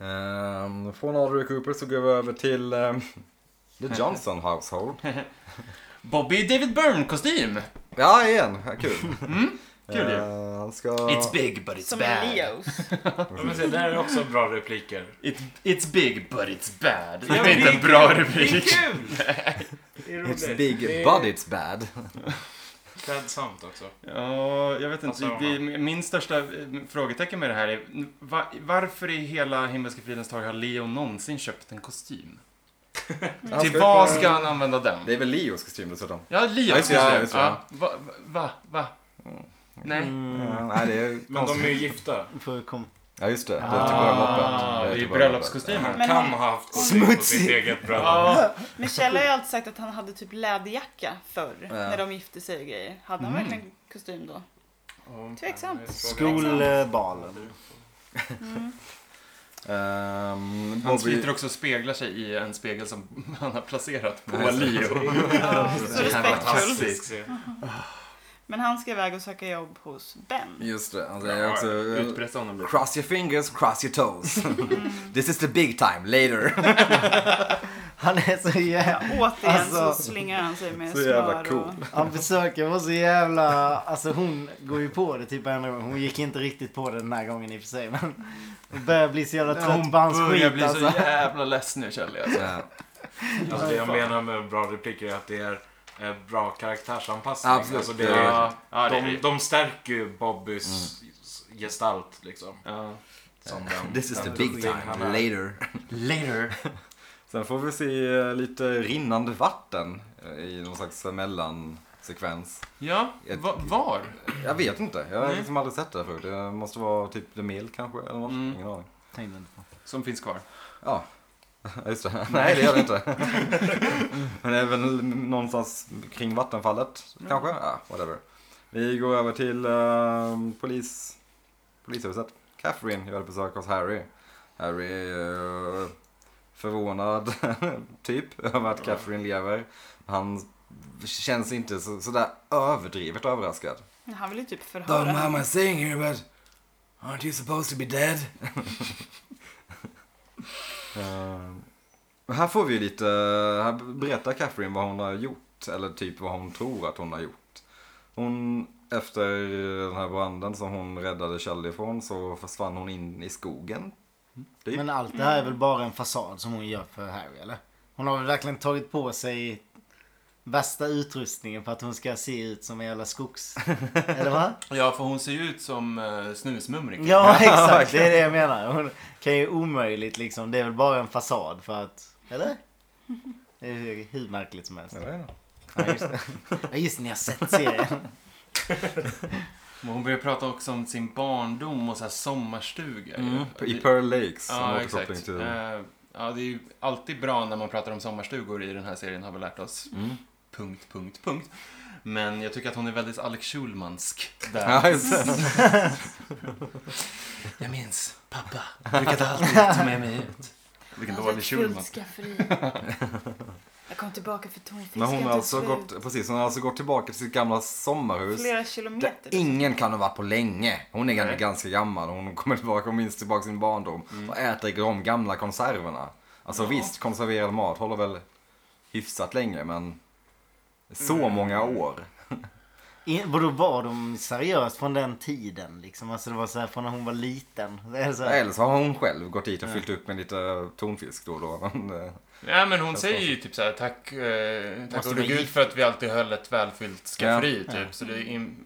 E: Ehm, från Audrey Cooper så går vi över till ehm, The Johnson Household.
F: Bobby David Byrne-kostym!
E: Ja, igen. Ja, Kul.
F: Mm, kul ju.
E: Eh, han ska...
F: It's big but it's
D: Som
F: bad.
D: en Leos.
C: Ja, Men se, det här är också bra repliker.
F: It, it's big but it's bad. Det
C: Ja,
F: är inte en bra rubrik.
C: Det är kul! Det är roligt.
E: It's big
C: det är
E: but it's bad.
F: Mm.
C: Klädsamt också.
F: Ja, jag vet inte.
C: Passar
F: Det, det, min största eh, frågetecken med det här är va, varför i hela Himmelska fridens torg har Leo någonsin köpt en kostym?
E: Han
F: Till
E: ska
F: vad
E: ju på-
F: ska han använda den?
E: Det är väl Leo ska streama dessutom.
F: Ja, Leo.
E: Ja, just det,
F: ja,
E: just det, ja. Mm.
F: Va, va, va? va? Nej.
E: Ja, Mm, nej, det är
C: Men de är
E: konstigt.
C: ju gifta.
A: Får jag kom...
E: Ja, just det. Det är till bröllopet.
F: Ah, det är
E: till
F: bröllopskostymen.
C: Han
D: Men-
C: kan ha haft kostym på sitt eget bröllop.
F: Ja,
D: Men Kjell har ju alltid sagt att han hade typ läderjacka förr.
E: Alltså, Ja. Mm.
D: När de gifte sig och grejer. Hade han verkligen kostym då? Tveksamt.
A: Skolbalen.
E: eh,
D: Mm.
E: Ehm,
F: Hans
E: Bobby-
F: Peter också speglar sig i en spegel som han har placerat på
E: Nej, så-
F: Leo.
D: Ja, så respektfullt.
C: Fantastisk scen.
D: Men han ska iväg och söka jobb hos Ben.
E: Just det, han säger också... eh,
F: Utpressa honom lite.
E: Cross your fingers, cross your toes. This is the big time, later.
A: Han är så
D: Ja,
A: jävla...
D: återigen så
A: Alltså,
D: slingar han sig med
E: så jävla
D: smör och...
E: cool.
A: Han försöker vara så jävla... Alltså hon går ju på det typ andra gången. Hon gick inte riktigt på det den här gången i och för sig. Men hon börjar bli så jävla trött på hans
F: börjar
A: skit
F: bli så
A: alltså.
F: jävla less nu Kjell. Alltså.
E: Ja,
C: Alltså det jag menar med bra repliker är att det är eh, bra karaktärsanpassning.
E: Absolut.
C: Alltså det är,
F: Ja, ja, det är
C: de,
F: det.
C: de stärker ju Bobbys gestalt liksom.
F: Ja.
C: Som den,
E: Mm. Eh, This is the
C: den
E: big
C: profil han
E: time,
C: är.
E: later.
F: Later.
E: Sen får vi se eh, lite rinnande vatten eh, i någon slags eh, mellansekvens.
F: Ja,
E: Ett-
F: va, var?
E: Jag vet inte, jag har
F: Nej.
E: liksom aldrig sett det här förut. Det måste vara typ The Mill kanske, eller något.
F: Mm.
E: Ingen aning.
A: Tänkte inte på.
F: Som finns kvar.
E: Ja, just det. Nej, det gör det inte. Men det är väl någonstans kring vattenfallet, kanske? Ja, whatever. Vi går över till eh, polis, polishuset. Catherine gör ett besök hos Harry. Harry är eh, förvånad, typ, över att Catherine lever. Han känns inte så, sådär överdrivet överraskad.
D: Han vill ju typ förhöra
E: Don't mind
D: henne.
E: my saying here, but aren't you supposed to be dead? Um, här får vi ju lite, här berättar Catherine vad hon har gjort, eller typ vad hon tror att hon har gjort. Hon, efter den här branden som hon räddade Shelley ifrån så försvann hon in i skogen. Typ.
A: Men allt det här är väl bara en fasad som hon gör för Harry eller? Hon har väl verkligen tagit på sig värsta utrustningen för att hon ska se ut som en jävla skogs... Eller vad?
F: Ja, för hon ser ju ut som eh, snusmumriken.
A: Ja exakt, det är det jag menar. Hon kan ju omöjligt liksom, det är väl bara en fasad för att... Eller? Det är ju hur märkligt som helst.
E: Jag vet inte.
A: Ja just det, ja, just det ni har sett serien.
F: Men Hon börjar prata också om sin barndom och så här sommarstuga.
A: Mm,
F: ju.
E: Mm. I Pearl Lakes, som
F: Ja,
E: återkoppling
F: exakt.
E: till...
F: Eh, ja, det är ju alltid bra när man pratar om sommarstugor i den här serien, har vi lärt oss.
E: Mm.
F: Punkt, punkt, punkt. Men jag tycker att hon är väldigt Alex Schulmansk där.
E: Ja, just det.
F: Jag minns, pappa brukade alltid ta med mig ut. Vilken
D: Jag hade
F: dålig
D: Alltså, ett
F: Schulman.
D: fullt skafferi. Jag kom tillbaka för tonfisk.
E: Men hon har
D: tog
E: alltså
D: slut.
E: gått, precis, hon har alltså gått tillbaka till sitt gamla sommarhus.
D: Flera
E: Där
D: kilometer.
E: ingen kan ha varit på länge. Hon är ganska,
F: Nej. Mm.
E: ganska gammal. Hon kommer tillbaka och minns tillbaka sin barndom. Och äter de gamla konserverna. Alltså visst, konserverad mat håller väl hyfsat länge men så
F: Mm.
E: många år.
A: I- Vadå var de seriöst från den tiden liksom? Alltså det var så här från när hon var liten. Det är så här,
E: Eller så har hon själv gått dit och fyllt upp med lite eh, tonfisk då och då. Men, eh,
F: Ja, men hon säger ju typ så här, tack, eh, tack
A: Måste
F: gode
A: vara
F: gud
A: gift.
F: för att vi alltid höll ett välfyllt skafferi, typ. Så det är... In...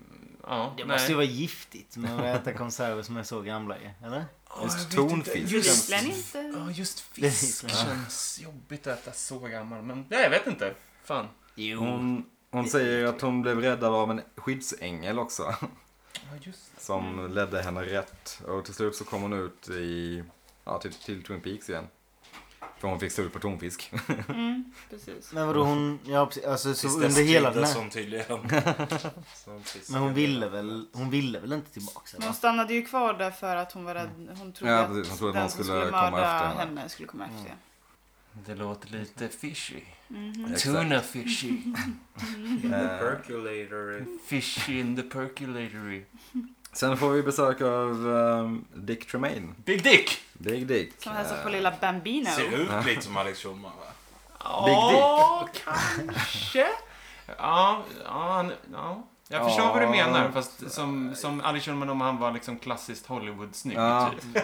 F: Ja,
A: det måste ju
F: nej.
A: vara giftigt med att äta konserver som är så gamla ju, eller?
E: just tonfisk.
D: Just... inte.
F: Ja, just
A: Det är
F: fisk
A: klart.
F: känns jobbigt att äta så gammal. Men nej, jag vet inte. Fan.
A: Jo.
E: Hon, hon säger att hon blev räddad av en skyddsängel också.
F: Ja, just det.
E: Som ledde henne rätt. Och till slut så kom hon ut i, ja, till, till Twin Peaks igen. För hon fick slut på tonfisk.
D: Mm, precis.
A: Men vadå hon, ja precis, alltså så
C: Tills dess
A: under hela den
C: skildes
A: här.
C: hon tydligen. Som precis-
A: Men hon ville väl, hon ville väl inte tillbaka?
D: Men
A: Eller?
D: hon stannade ju kvar där för att hon var rädd. Hon trodde
E: Ja,
D: att
E: precis. Hon trodde att
D: den
E: någon
D: som
E: skulle
D: skulle
E: komma efter
D: mörda
E: henne. Mm.
D: henne skulle komma efter.
F: Det låter lite fishy.
D: Mm-hmm.
E: Exakt.
F: Tuna fishy.
E: Eh,
C: Percolator.
F: Fish in the perculatory.
E: sen får vi besök av ehm, Dick Tremaine.
F: Big Dick!
E: Big Dick.
D: Som hälsar på
E: Eh,
D: lilla Bambino.
C: Ser ut lite som Alex Schulman va?
E: Dick.
F: Ja, kanske. Ja, ja, han- ja. Jag förstår vad du
E: Ja.
F: menar, fast som, som Ali Shulman om han var liksom klassiskt Hollywood-snygg.
E: Ja.
F: Typ.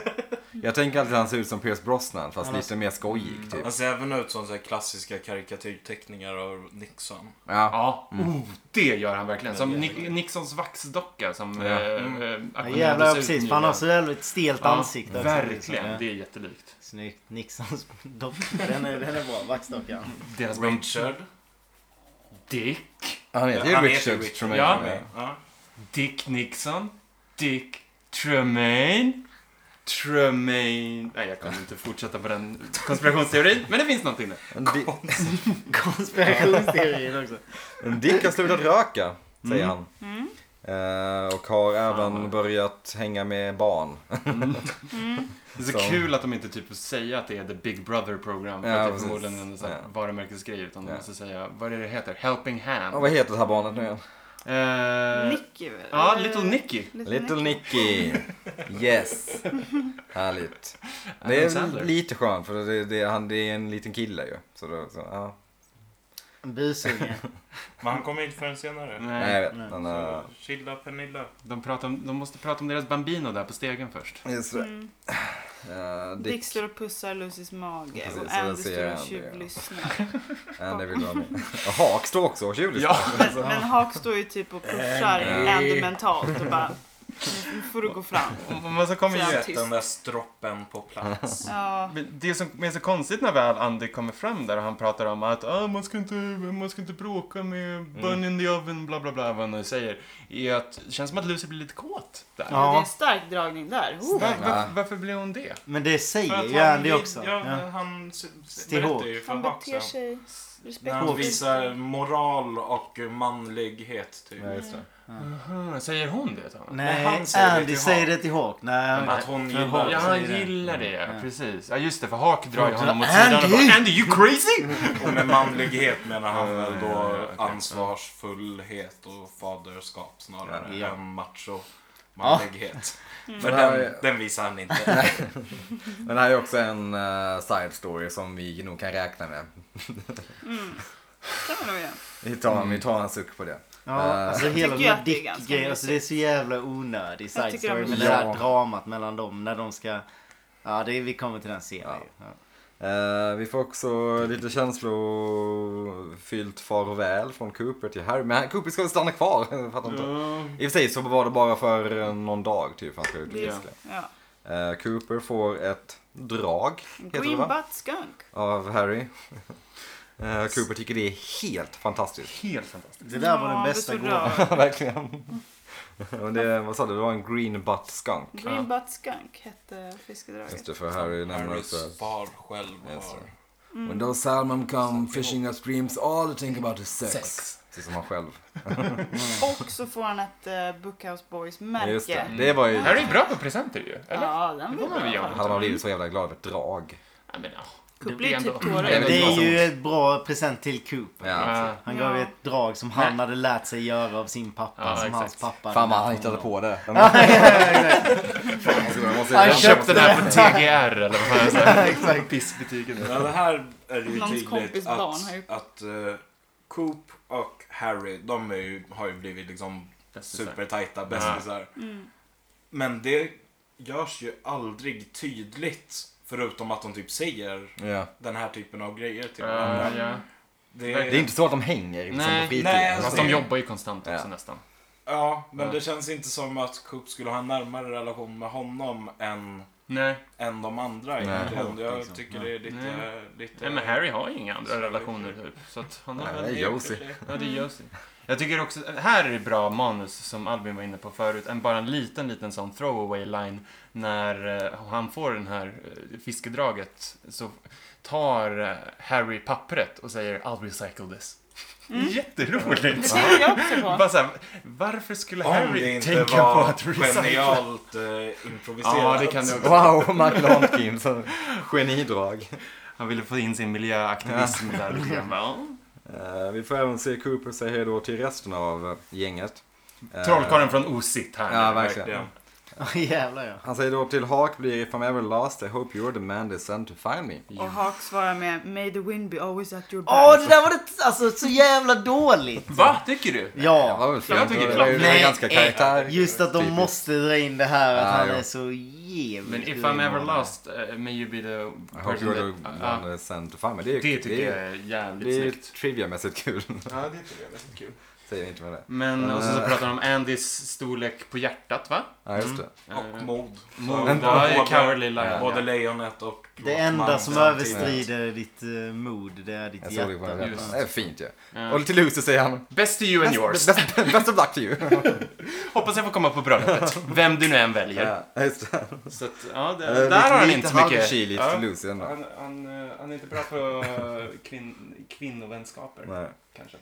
E: Jag tänker alltid att han ser ut som Pierce Brosnan fast
A: Han har-
E: lite mer skojig typ.
C: Han ser även ut som så här klassiska karikatyrteckningar av Nixon.
E: Ja.
F: Ja,
A: Mm.
F: oh, det gör han verkligen. Som
C: Ja, det
F: Nick,
C: gör han.
F: Nixons vaxdocka som
E: Ja.
F: eh,
C: Mm.
F: eh,
A: Ja,
F: auktionerades
A: jävlar, ja,
F: ut
A: precis. alltså, För
F: nyligen.
A: han har så jävligt stelt
F: Ja,
A: ansikte också, liksom.
F: Verkligen,
A: Ja.
F: det är jättelikt.
A: Snyggt. Nixons dock. Den är, den är bra. Vaxdockan.
F: Deras band
C: Richard.
F: Dick,
E: Han heter ju
C: Han heter
E: Richard
C: Richard.
E: Tremaine.
F: Ja.
E: Ja.
C: Ja.
F: Dick Nixon, Dick Tremaine, Tremaine... Nej, jag kommer inte fortsätta på den konspirationsteorin, men det finns någonting där.
E: En, di-
A: Konspirationsteorin också.
E: en Dick har slutat röka, säger han.
D: Mm.
E: Eh, och har även
F: vad-
E: börjat hänga med barn.
F: Det är
E: Så.
F: så, kul att de inte typ säger att det är The Big Brother Program. För
E: Ja,
F: att det är
E: precis.
F: förmodligen en sån här
E: Ja.
F: varumärkesgrej. Utan de
E: Ja.
F: måste säga, vad är det det heter? Helping Hand.
E: Och vad heter det här barnet nu igen?
F: Eh,
D: Nicky väl?
F: Ja,
D: Eller-
F: Little Nicky.
E: Little Nicky. Yes. Härligt. Det
F: Adam
E: är
F: Sandler.
E: lite skönt för det, det, han, det är en liten kille ju. Så då, så, ja.
A: En busunge.
C: Men han kommer inte förrän senare.
E: Nej, jag
F: Nej,
E: vet.
A: nej.
E: Han, eh,
C: Så, chilla Pernilla.
F: de, pratar om, de måste prata om deras Bambino där på stegen först.
E: just det.
D: Mm.
E: Eh, Dick,
D: Dick står och pussar Lucys mage
E: Precis, och
D: och
E: där
D: Andy
E: ser
D: står
E: jag
D: och
E: Andy, ja.
D: tjuvlyssnar.
E: Andy vill vara med. Och Hawk står alltså, också och tjuvlyssnar.
F: Ja.
D: Men, men Hawk står ju typ och pushar
E: Andy.
D: Andy mentalt och bara Nu får du gå fram.
F: Men så kommer
D: Så
F: ju...
D: jag-
C: Sätt den där stroppen på plats.
D: Ja,
F: Men Det som är så konstigt när väl Andy kommer fram där och han pratar om att ah, man, ska inte, man ska inte bråka med bun in the oven, bla bla bla, vad han nu säger. Är att, det känns som att Lucy blir lite kåt där.
A: Ja.
D: det är en stark dragning där. Oh.
F: Var,
E: Ja.
F: varför, varför blir hon det?
A: Men det säger
C: För att
A: ju Andy
C: vill-
A: också.
C: Ja,
A: Ja.
C: men han s- s-
A: Till
C: berättar
A: hårt.
C: ju för
D: Han beter
C: Haxa.
D: sig
C: När han
A: Hårt.
D: respektfullt.
C: visar moral och manlighet typ.
E: Ja, just det.
F: Aha, Ah, säger hon det till honom?
A: Nej,
C: Men han säger det
A: Andy
C: till
A: säger
C: Hawk.
A: det till Hawk. Nej,
C: Att hon
A: För
C: gillar
A: Hawk
F: Ja, han
A: säger det.
F: gillar det.
A: Ja.
F: Precis. Ja, just det. För Hak drar ju
A: Hon
F: honom åt
A: drar-
F: sidan och
A: Andy!
F: bara Andy, you crazy?
C: Och med manlighet menar han väl
F: Ja, ja,
C: då
F: ja, okej.
C: ansvarsfullhet och faderskap snarare
A: Ja.
C: än macho manlighet.
D: Mm.
C: För
E: Det här
C: den,
E: är-
C: den visar han inte.
E: Men det här är också en eh, side story som vi nog kan räkna med.
D: Mm. Kan man nog göra.
E: Vi tar, vi tar en suck på det.
A: Ja,
E: Eh,
A: alltså
D: tycker
A: hela
D: jag
A: den här
D: att det är ganska
A: Dick-grejen. Alltså det är så jävla onödig
D: Jag
A: side
D: tycker
A: story
D: om-
A: med det här
E: Ja.
A: dramat mellan dem när de ska... Ja, det är, vi kommer till den serien. Ja.
E: Eh, vi får också lite känslofyllt farväl från Cooper till Harry. Men Cooper ska väl stanna kvar? Jag Fattar inte. I och för sig så var det bara för eh, någon dag typ han ska ut och
D: Ja.
E: fiska.
D: Ja.
E: Eh, Cooper får ett drag, heter det
D: Green
E: va?
D: butt skunk.
E: Av Harry. Eh, Cooper tycker det är helt fantastiskt.
F: Helt fantastiskt.
A: Det där var
D: Ja,
A: den
D: det
A: bästa
D: är så
A: gåvan.
D: rörigt.
E: Verkligen. Och det, vad sa du, det var en green butt skunk.
D: Green butt skunk hette fiskedraget.
E: Just det, för Harry nämner också.
C: Harrys far själv
E: Yes,
C: var.
E: sir. When those salmon come fishing up streams all they think about is sex. Precis som han själv.
D: Och så får han ett uh, Bookhouse
E: Ja, Just det.
D: Boys-märke.
E: det var ju...
F: Det här är ju bra på presenter ju. Eller?
D: Ja, den
F: Det
D: var
F: får man väl
D: bra.
F: göra.
E: Hade man blivit så jävla glad över ett drag.
F: Ja, men, ja.
D: Kupp blir typ tårar.
F: Ja,
A: Det är
F: bra.
A: ju ett bra present till Cooper.
E: Ja.
F: Ja.
A: Han
D: Ja.
A: gav ju ett drag som han hade lärt sig göra av sin pappa.
F: Ja,
A: som
F: exakt.
A: hans pappa
E: Fan vad
A: hade
E: han
A: lärt
E: hittade
A: honom.
E: på det.
A: Han
F: Jag köpte den här på TGR eller vad fan jag sa.
A: Exakt.
F: Pissbutiken.
C: Ja, det här är ju
D: Någons
C: tydligt
D: kompis
C: att,
D: barn har ju-
C: att eh, Coop och Harry, de är ju, har ju blivit liksom supertajta bästisar.
D: Mm.
C: Men det görs ju aldrig tydligt förutom att de typ säger
E: Ja.
C: den här typen av grejer till varandra.
F: Ja, ja.
C: Det,
E: Det är inte så att de hänger liksom,
F: Nej.
E: på fritiden.
C: Nej, alltså,
F: Fast de jobbar ju konstant också
E: Ja.
F: nästan.
C: Ja, men
F: Ja.
C: det känns inte som att Coop skulle ha en närmare relation med honom än,
F: Nej.
C: än de andra
E: Nej.
C: egentligen. Jag
A: Liksom.
C: tycker det är lite...
F: Nej.
C: lite
F: Nej, men Harry har ju inga andra relationer typ. Så att han har
E: Nej,
F: väl-
E: det är Josie.
F: Ja, det görs ju. Jag tycker också, här är bra manus som Albin var inne på förut, en, bara en liten, liten sån throwaway line när eh, han får den här eh, fiskedraget så tar eh, Harry pappret och säger I'll recycle this. Jätteroligt!
D: Det är jag också på.
F: Bara så här, varför skulle
C: Om det
F: Harry
C: inte
F: tänka på
C: var
F: att recycla?
C: genialt eh, improviserat.
F: Ja, det kan det också.
E: Wow, Michael Hankin. så- Genidrag.
F: Han ville få in sin miljöaktivism där lite grann. Ja.
E: Eh, vi får även se Cooper säga hej då till resten av eh, gänget. Eh,
F: Trollkarlen från Osit här.
E: Ja, verkligen.
C: Verkligen.
A: Jävlar ja.
E: Han säger då till Hawk blir If I'm ever lost I hope you're the man they sent to find me.
D: Och Hawk svarar med May the wind be always at your back.
A: Åh, det där var det alltså, så jävla dåligt.
B: Va? Tycker du?
E: Det
A: Ja.
E: var väl fint.
B: Jag tycker
E: Det var-
B: det var-
E: det var ju
A: Nej,
E: ganska
A: eh,
E: karaktär.
A: Just att de
E: typiskt.
A: måste dra in det här att
E: Ja,
A: han
E: ja.
A: är så jävligt
F: Men if
A: dum.
F: I'm ever lost, uh, may you be the
E: I hope
F: person
E: you're the
F: that... Ja,
E: man they sent to find me. Det, är,
F: det tycker jag
E: är,
F: är jävligt
E: det är
F: snyggt.
E: trivia-mässigt kul.
B: Ja, det tycker jag är väldigt kul.
E: säger inte vad det är.
F: Men och
E: Eh.
F: sen så pratar de om Andys storlek på hjärtat va?
E: Ja, just
B: Mm.
E: det.
F: Eh,
C: Och mod.
F: Mod,
E: Men-
F: ja,
C: både-
F: Cowardly Lion.
E: Ja.
C: Både lejonet och
A: Det enda
C: Rockman
A: som
C: samtidigt.
A: överstrider ditt eh, mod, det är ditt
E: Jag såg det på
A: hjärta.
E: den
F: Just.
E: Det är fint ju.
F: Mm. Ja.
E: Och till Lucy säger han
F: Best to you and yours.
E: Best, best, best of luck to you.
F: Hoppas jag får komma på bröllopet. Vem du nu än väljer.
E: Ja, just det.
F: Så att, ja, det,
E: Eh,
F: där har han
E: lite-
F: inte så
E: lite
F: mycket...
E: halvkyligt
F: Ja.
E: till Lucy ändå.
F: Han, han, eh, han är inte bra på eh, kvin, kvinnovänskaper,
E: Nej.
F: kanske.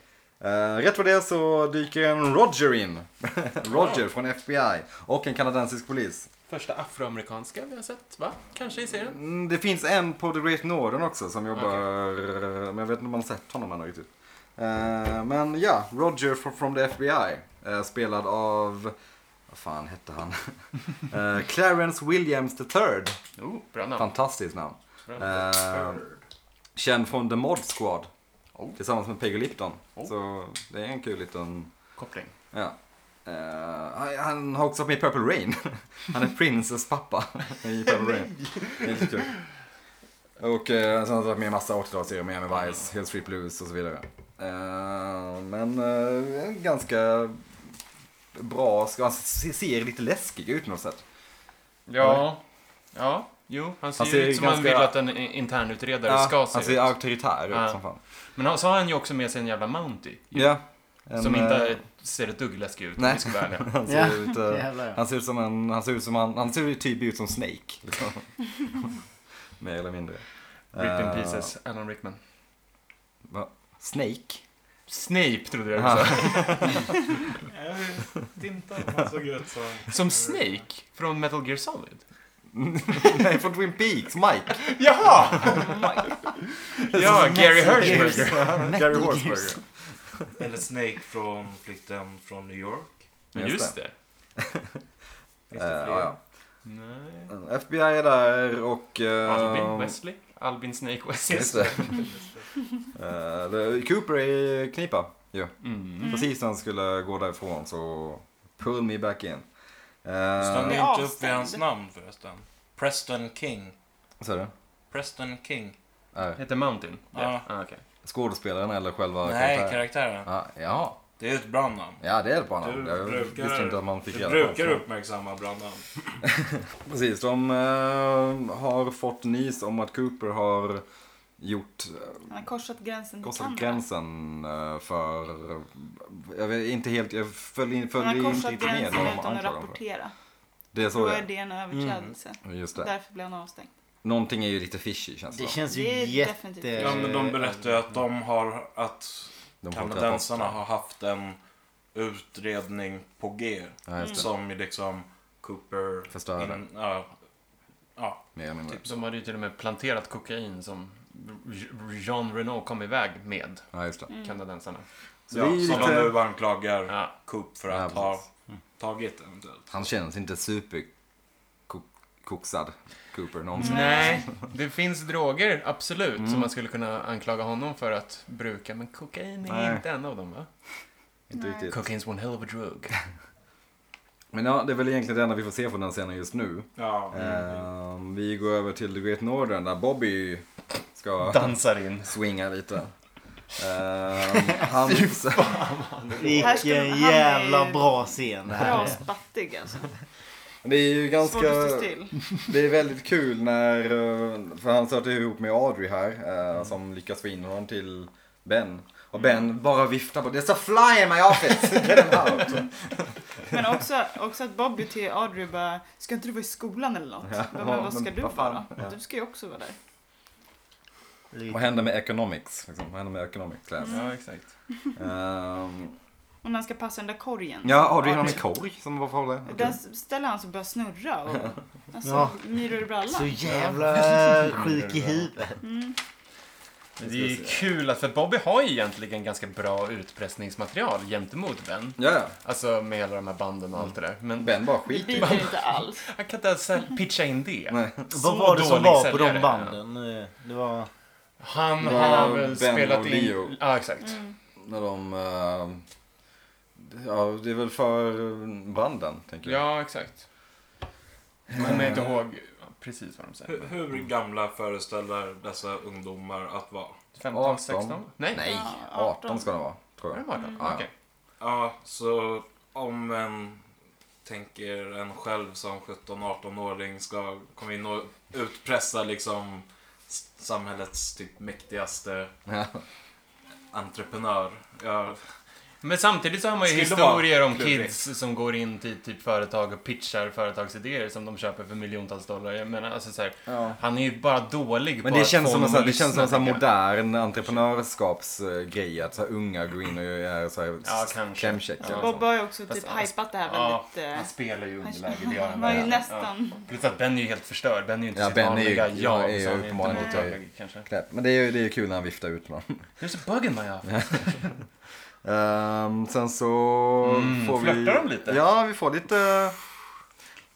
E: Eh, rätt vad det är så dyker en Roger in. Roger från FBI och en kanadensisk polis.
F: Första afroamerikanska vi har sett, va? Kanske i serien?
E: Mm, det finns en på The Great Northern också som jobbar, men jag vet inte om man har sett honom än riktigt. Eh, men ja, Roger fr- from the FBI. eh, spelad av, vad fan hette han? Eh, Clarence Williams III.
F: Oh, bra namn.
E: Fantastiskt namn.
F: Bra namn.
E: Mm. Eh, känd från The Mod Squad.
F: Oh.
E: Tillsammans med Peggy Lipton.
F: Oh.
E: Så det är en kul liten
F: Koppling.
E: Ja. Eh, han- han har också varit med i Purple Rain. Han är Princes pappa i Purple Rain. Det är lite kul. Och uh, sen har han varit med i massa 80-talsserier, Miami Vice, Hill Street Blues och så vidare. Eh, men eh, en ganska bra, sk- han se- ser lite läskig ut på något sätt.
F: Ja. Ja. Jo, han ser,
E: Han ser
F: ut som han
E: ganska-
F: vill att en i- internutredare
E: Ja,
F: ska se
E: han ser
F: ut.
E: auktoritär ut
F: Ja.
E: som fan.
F: Men han- så har han ju också med sig en jävla Mountie. ju,
E: Ja. En,
F: som
E: eh,
F: inte ser ett dugg läskig ut, om
E: nej.
F: vi ska vara ärliga.
E: han ser
A: Ja,
E: ut, eh,
A: jävlar ja.
E: Han ser ut som en, han ser ut som han, han ser ju typ ut som Snake. Liksom. Mer eller mindre.
F: Rip in
E: Eh,
F: pieces, Alan Rickman.
E: va? Snake?
F: Snape trodde jag
E: Aha.
F: du sa.
C: Jag vet inte om han såg ut så.
F: Som Snake från Metal Gear Solid.
E: Nej, från Twin Peaks, Mike.
F: Jaha! ja, Gary Hirschberger.
E: Gary Horsberger.
C: Eller Snake från flykten från New York.
F: Men Just det.
C: Finns det
E: Eh,
C: fler?
E: ja,
F: Nej.
E: ja. FBI är där och...
F: Albin
E: Uh,
F: Wesley? Albin Snake
E: just
F: Wesley?
E: det. Eh, det- Cooper är i knipa ju.
F: Mm.
E: Precis när han skulle gå därifrån så pull me back in. Uh,
C: Stanna
D: blir
C: inte upp vid
D: avstängd.
C: hans namn förresten. Preston King.
E: vad sa du?
C: Preston King.
E: Eh,
F: Heter Mountain?
C: Ja.
F: Ah, okej.
E: skådespelaren eller själva
C: Nej,
E: karaktären?
C: karaktären.
E: Ah, ja.
C: Det är ett brandnamn.
E: Ja, det är ett bra namn.
C: Du
E: Jag
C: brukar-
E: visste inte att man fick
C: Du
E: reda på
C: brukar
E: det.
C: uppmärksamma brandnamn.
E: Precis, de eh, har fått nys om att Cooper har gjort eh,
D: Han har korsat gränsen till
E: korsat
D: Kanada.
E: gränsen eh, för... Jag vet inte helt, jag följde in,
D: Han
E: följde
D: har
E: inte
D: korsat
E: riktigt med
D: gränsen
E: vad
D: utan
E: de
D: att
E: anklagade honom för.
D: rapportera.
E: Det är så
D: Då
E: det
D: är
E: är.
D: det en överträdelse.
E: Just det.
D: Därför blev han avstängd.
E: Någonting är ju lite fishy känns det,
A: Det
E: som.
A: känns ju
D: Det är
A: jätte...
D: definitivt.
C: Ja, men de berättar ju att de har att
E: Eh, De får
C: kanadensarna
E: träffa-
C: har haft en utredning på G.
E: Ja, just det.
C: Som är liksom Cooper...
E: Förstörde.
C: in- ja, ja,
E: Mer eller mindre.
C: Mm. typ så.
F: De hade ju till och med planterat kokain som Jean Renault kom iväg med,
E: Ja, just det.
D: Mm.
F: kanadensarna.
E: Så
C: ja,
E: det är ju
C: som de
E: lite...
C: nu anklagar
F: Ja.
C: Coop för
E: Ja,
C: att ha
E: precis.
C: tagit eventuellt.
E: Han känns inte super koksad, Cooper, någonsin.
F: Nej, det finns droger, absolut, som man skulle kunna anklaga honom för att bruka. Men kokain är
E: Nej.
F: inte en av dem, va?
E: Inte
D: Nej.
E: riktigt.
F: Cocaine's one hell of a drug.
E: Men ja, det är väl egentligen det enda vi får se från den scenen just nu.
C: Ja.
E: Ehm, vi går över till The Great Northern där Bobby ska
F: Dansar in.
E: swinga lite. Ehm,
D: Här
E: han,
D: skulle-
A: Vilken
D: han är
A: jävla
D: ju-
A: bra scen det här
D: Bra
A: är.
D: spattig alltså.
E: det är ju ganska...
D: Svårt att stå still.
E: Det är väldigt kul när... eh, För han stöter ihop med Audrey här eh, som lyckas få in honom till Ben. Och Ben bara viftar på det a fly in my office! Mm. Get him out!
D: Men också, också att Bobby till Audrey bara, ska inte du vara i skolan eller något?
E: Ja,
D: Bara, men vad ska
E: men
D: du
E: vad fan,
D: vara?
E: ja.
D: Du ska ju också vara där.
E: Vad händer med economics? Liksom? Vad händer med economics class?
F: Ja, exakt.
E: Ehm,
D: Och när han ska passa den där korgen.
E: ja, Audrey har en korg som var för det.
D: Den ställer han så börjar snurra och alltså,
A: Ja.
D: myror i brallan.
A: Så jävla sjuk i huvudet.
F: Men Det är ju kul att, för Bobby har ju egentligen ganska bra utpressningsmaterial gentemot Ben.
E: Ja, ja.
F: Alltså med alla de här banden och allt det där. Men
E: Ben bara
D: Det
E: skiter i
D: biter inte alls.
F: han kan inte ens sälj- pitcha in det.
E: Nej.
F: Så
A: Vad var det som
F: dålig
A: var på
F: säljare
A: de
F: är
A: banden? Eh, Det var...
F: Han
E: Det var
F: har väl
E: Ben och
F: spelat
E: Leo.
F: in... Ja, exakt.
E: när de... eh, ja, det är väl för branden, tänker jag.
F: Ja, exakt. Men jag kommer inte ihåg precis vad de säger.
C: Hur, hur gamla föreställer dessa ungdomar att vara?
F: 15, 16? Nej.
E: Nej,
D: Ja,
E: 18,
D: 18
E: ska det vara, tror
F: Var
E: jag.
F: det 18?
E: Ja, ja.
F: Okej.
C: Ja, så om en tänker en själv som 17-18-åring ska komma in och utpressa liksom s- samhällets typ mäktigaste
E: Ja.
C: entreprenör. Ja,
F: Men samtidigt så har man ju
C: Skulle
F: historier
C: vara
F: om
C: klurigt.
F: kids som går in till typ företag och pitchar företagsidéer som de köper för miljontals dollar. Jag menar, alltså så här,
E: Ja.
F: han är ju bara dålig
E: Men
F: på
E: det
F: att
E: känns,
F: få
E: som en,
F: någon
E: sån här,
F: att
E: det känns som en sån här
F: lyssna, tycker
E: modern entreprenörskapsgrej. Att så här unga går in och är så här
F: Ja, kanske.
E: klämchecka.
F: Ja.
E: eller
D: Bob
E: så.
D: har ju också
F: Fast
D: typ
F: han-
D: hypat det här
F: jag. Ja,
D: väldigt... eh,
F: han spelar ju
D: han-
F: underläge, det gör han
D: Han var ju
F: verkligen.
D: nästan...
F: Ja. Plus att Ben är ju helt förstörd. Ben är ju inte
E: Ja,
F: sitt
E: Ben är ju-
F: vanliga
E: ja,
F: jag.
E: är ju
F: så han
E: uppenbarligen
F: inte
E: lite-
F: mottaglig, kanske.
E: Knäpp. Men det är ju det är kul när han viftar ut dem.
F: There's a bug in my eye.
E: Ehm, sen så
F: Mm,
E: får vi...
F: flörtar de lite?
E: Ja, vi får lite...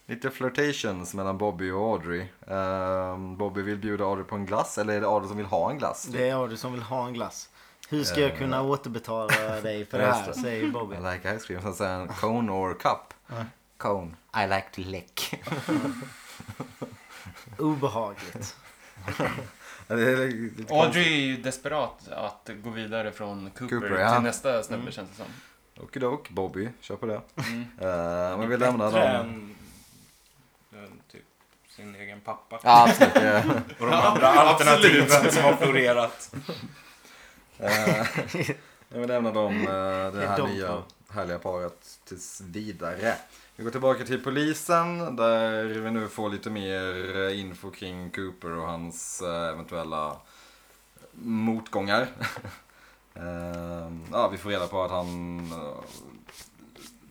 E: Lite flirtations mellan Bobby och Audrey. Ehm, Bobby vill bjuda Audrey på en glass, eller är det Audrey som vill ha en glass?
A: Det är du som vill ha en glass. Hur ska jag kunna återbetala dig för det
E: Eh. Just
A: här?
E: det.
A: Säger Bobby.
E: I like ice cream. Sen säger han cone or cup. Cone. I like to lick.
A: Obehagligt.
E: det är lite konstigt.
F: Audrey är ju desperat att gå vidare från Cooper,
E: Cooper, ja. Mm.
F: till nästa snubbe känns det som.
E: Okidok, Bobby. Kör på det.
F: Mm.
E: Ehm, men vi lämnar
C: bättre
E: dem.
C: än, än typ sin egen pappa.
E: Ja, absolut. ja.
C: Och de andra alternativen som har florerat.
E: Ehm, vi lämnar dem, eh, det
A: är
E: här
A: de
E: nya
A: två.
E: härliga paret tills vidare. Vi går tillbaka till polisen där vi nu får lite mer eh, info kring Cooper och hans eh, eventuella motgångar. Ehm, ja, vi får reda på att han eh,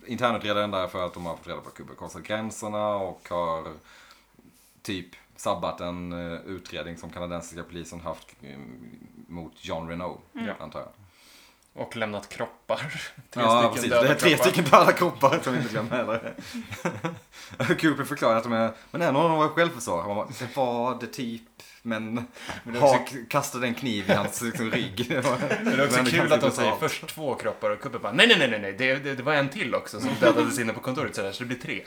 E: internutredaren där för att de har fått reda på att Cooper korsat gränserna och har typ sabbat en eh, utredning som kanadensiska polisen haft eh, mot John Renault,
F: Mm.
E: antar jag.
F: Och lämnat kroppar. Tre
E: ja,
F: stycken
E: precis.
F: döda
E: Det är tre
F: kroppar.
E: stycken döda kroppar som vi inte glömmer heller. Cooper förklarar att de är, men en av dem var självförsvar. Han bara, det var det typ, men,
F: det är
E: ha, kastade en kniv i hans liksom, rygg. Det var-
F: Men det är också
E: Men det
F: kul
E: kanske
F: att de
E: inte
F: säger
E: allt.
F: först två kroppar och Cooper bara nej, nej, nej, nej, nej. Det, det, det var en till också som dödades inne på kontoret så, där, så det blir tre.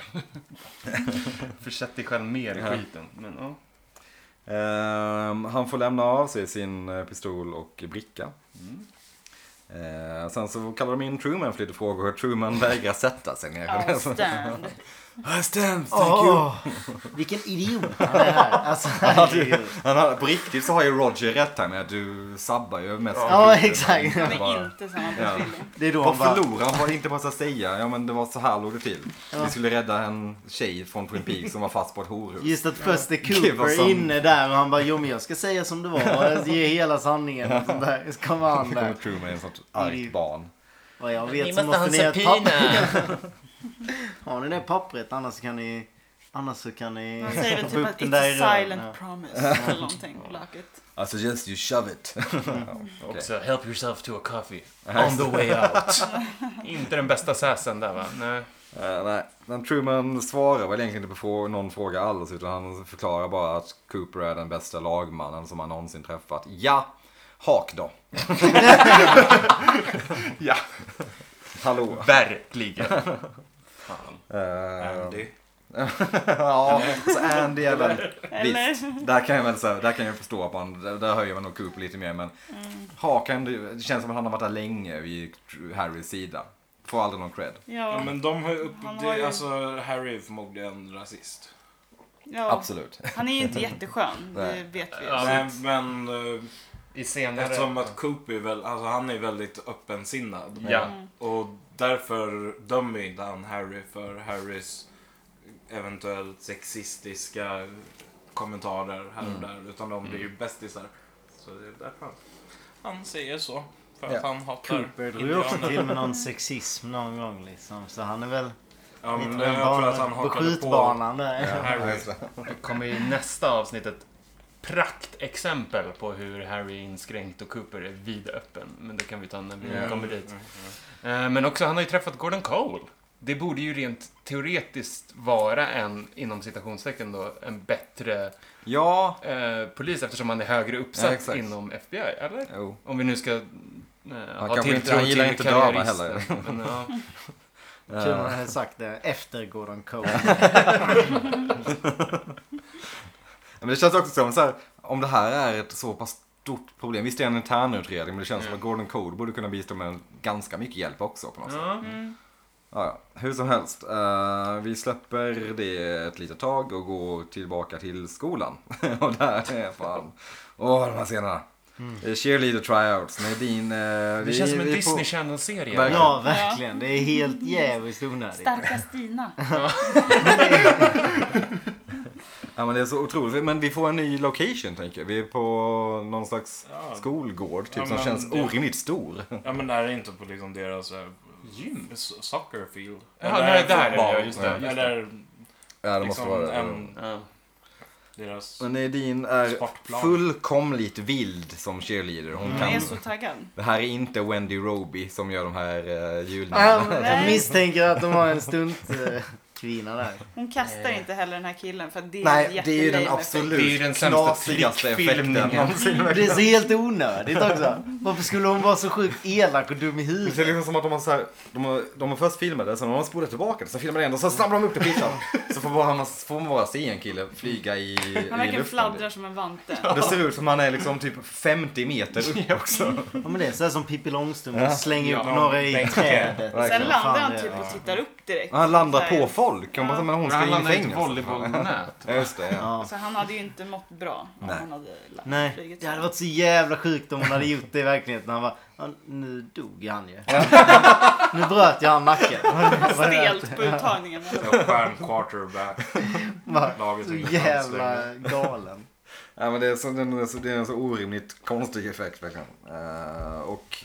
F: Försätt dig själv mer i
E: Ja.
F: skiten. Men, ja.
E: Ehm, han får lämna av sig sin eh, pistol och bricka.
F: Mm.
E: Ehm, sen så kallar de in Truman för lite frågor. Truman vägrar sätta sig ner. Ah.
D: Outstand.
E: I stand, thank you.
A: Åh, vilken idiot han är. Alltså, herregud.
E: Han har, på riktigt så har ju Roger rätt här med att du sabbar ju mest.
A: Ja, exakt.
D: Han
E: Bara-
D: är inte som han
E: Ja.
D: beskyller.
A: Det är då
E: Vad
A: han bara...
E: förlorar han? Vad inte måste säga? Ja men det var så här låg det till. Vi skulle rädda en tjej från Twin Peaks som var fast på ett horhus.
A: Just att först är
E: Gud, vad
A: Cooper
E: sant.
A: inne där och han bara jo men jag ska säga som det var. Jag Ge hela sanningen. Och sånt där. Så kommer han
E: Det kommer
A: där.
E: Truman i ett sånt argt barn.
A: Vad jag vet så måste ni ha ett papper. Har ni det pappret annars så kan ni... Annars så kan ni...
D: Han säger väl
A: få
D: typ
A: upp
D: att
A: den
D: it's
A: där i
D: a
A: röven.
D: silent
A: Ja.
D: promise eller någonting. Blacket.
E: I suggest Alltså, you shove it.
F: Också help yourself to a coffee on the way out. inte den bästa säsen där va? Nej.
E: Eh, nej, men Truman svarar väl egentligen inte på frå- någon fråga alls utan han förklarar bara att Cooper är den bästa lagmannen som han någonsin träffat. Ja, hak då.
F: Ja.
E: Hallå.
F: Verkligen. Fan.
E: Eh,
C: Andy.
E: ja, så Andy är väl...
D: Eller?
E: Visst, där kan jag väl säga, där kan jag förstå att man, där, där höjer man nog Cooper lite mer men Hakan, det det känns som att han har varit där länge vid Harrys sida. Får aldrig någon cred.
C: Ja,
D: Ja.
C: men de har ju upp...
D: Han har
C: Det,
D: ju-
C: alltså, Harry är förmodligen rasist.
D: ja.
E: Absolut.
D: Han är ju inte jätteskön. Det
E: Nej.
D: vet vi ju.
F: Ja,
C: Nej, men eh,
F: I senare...
C: eftersom att Coop är väl... Alltså han är väldigt öppensinnad.
F: Ja.
C: Och därför dömer inte han Harry för Harrys eventuellt sexistiska kommentarer här och
E: Mm.
C: där. Utan de blir ju bästisar. Så det är därför han, han säger så. För att
E: Ja.
C: han hatar
A: Cooper drog ju också
C: indianer.
A: till med någon sexism någon gång liksom. Så han är väl
C: Ja,
A: lite
C: men
A: av en
C: jag tror att han
A: barn på
C: hakade på
A: skjutbanan där.
C: Harry.
F: Det kommer i nästa avsnittet praktexempel på hur Harry är inskränkt och Cooper är vidöppen. Men det kan vi ta när vi
C: Mm.
F: kommer dit.
E: mm.
F: Eh, Men också, han har ju träffat Gordon Cole. Det borde ju rent teoretiskt vara en, inom citationstecken då, en bättre
E: Ja.
F: eh, polis eftersom han är högre
E: Ja,
F: uppsatt
E: exakt.
F: inom FBI, eller?
E: Jo.
F: Om vi nu ska eh, ha
E: kanske inte-
F: tilltro
E: han gillar
F: till
E: inte döva
F: karriäristen.
E: heller.
F: Men, ja.
A: Kul
E: Eh,
A: om man hade sagt det efter Gordon Cole.
E: Ja, Men det känns också som så här, om det här är ett så pass stort problem. Visst är det en internutredning men det känns som
F: Mm.
E: att Gordon Cole borde kunna bistå med ganska mycket hjälp också på något sätt.
F: Ja.
E: Ja, ja. Hur som helst, eh, vi släpper det ett litet tag och går tillbaka till skolan. och där är fan, åh de här scenerna. Mm. Cheerleader tryouts, Nadine. eh,
F: Det känns som en
E: vi är
F: Disney
E: På...
F: Channel-serie.
E: Verkligen.
A: Ja, verkligen. Det är helt jävligt onödigt.
D: Starka Stina.
E: Ja men det är så otroligt, men vi får en ny location tänker jag. Vi är på någon slags
C: Ja.
E: skolgård typ
C: Ja,
E: som
C: men
E: känns
C: det-
E: orimligt stor.
C: Ja men det här är inte på liksom deras eh,
F: Gym?
C: s- soccer field.
F: Jaha, nej, där är det,
C: fotboll.
F: ja, just det, just det.
C: Eller
E: Ja det måste
C: liksom
E: vara det.
C: en,
F: Ja.
C: deras...
E: Och Nadine är
C: Sportplan.
E: fullkomligt vild som cheerleader. Hon
D: Jag är
E: kan...
D: Mm. så taggad.
E: Det här är inte Wendy Roby som gör de här uh, julningarna.
A: Ja, Jag misstänker att de har en stunt eh, kvinna där.
D: Hon kastar inte heller den här killen för att det är
E: Nej,
D: en
E: det är ju den
D: jättelame
E: absolut
F: Det är ju den sämsta
E: knasigaste effekten
F: trickfilmningen.
E: någonsin.
A: Det är så helt onödigt också. Varför skulle hon vara så sjukt elak och dum i
E: Det är
A: huvudet?
E: liksom som att de har, så här, de har, de har först filmat det, sen har de spolat tillbaka det, sen filmar de igen och sen snabbar de upp det på ytan. Så får bara, får man bara se en kille flyga i, i
D: fake. Han verkligen
E: luften.
D: fladdrar som en vante.
E: Det ser ut som han är liksom typ 50 meter upp också.
A: Ja, men det är så här som Pippi Långstrump
E: Ja.
A: slänger upp
B: Ja,
A: några i
B: verkligen.
A: trädet.
E: Verkligen.
D: Sen landar han
A: Fan,
D: typ
A: det-
D: och tittar upp direkt.
E: Han landar
D: Så här.
E: på folk. Han bara, men hon
F: Men
E: ska
F: Han
E: in i
F: landar i ett
E: fängelse.
F: volleybollnät.
E: Ja, just det. Ja.
A: Ja.
D: Så han hade ju inte mått bra om
E: Nej.
D: han hade lagt
A: Nej,
D: flyget.
A: det hade varit så jävla sjukt om hon hade gjort det i verkligheten. Han bara, ja, nu dog han ju. Nu bröt jag han nacken.
D: Stelt på uttagningen.
C: Stjärn quarterback.
A: Bara,
C: Laget
A: Så
C: är inte
A: jävla galen.
E: Ja, men det, är så, det, är så, det är en så orimligt konstig effekt verkligen. Eh, och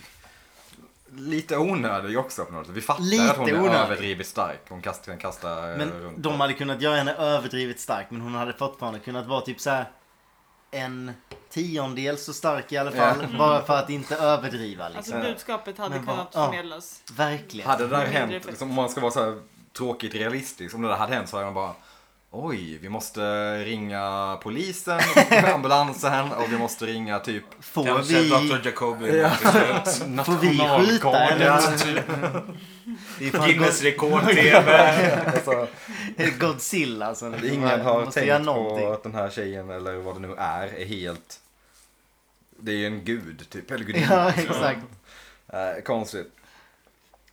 E: lite onödig också på något sätt. Vi fattar
A: Lite
E: att hon är
A: onödig.
E: överdrivet stark. Hon kastar, kan kasta eh,
A: Men
E: runt.
A: de hade kunnat göra henne överdrivet stark men hon hade fortfarande kunnat vara typ så här en tiondel så stark i alla fall.
E: Mm.
A: Bara för att inte överdriva liksom.
D: Alltså budskapet hade
A: Men vad-
D: kunnat
A: ja.
D: förmedlas.
A: Verkligen.
E: Hade det där
D: Mindre
E: hänt,
D: effekt.
E: liksom, om man ska vara så här tråkigt realistisk, om det där hade hänt så hade man bara Oj, vi måste ringa polisen, ambulansen och vi måste ringa typ
A: Får
C: Kanske
A: vi,
C: Dr. Jacobi. Ja.
A: får vi skjuta eller?
E: typ.
A: Det är fan
C: Guinness rekord-tv.
E: alltså,
A: God- Godzilla som liksom
E: Ingen har
A: måste göra
E: tänkt på
A: någonting.
E: att den här tjejen eller vad det nu är är helt Det är ju en gud typ, eller gudinna.
A: Ja exakt.
E: Eh, konstigt.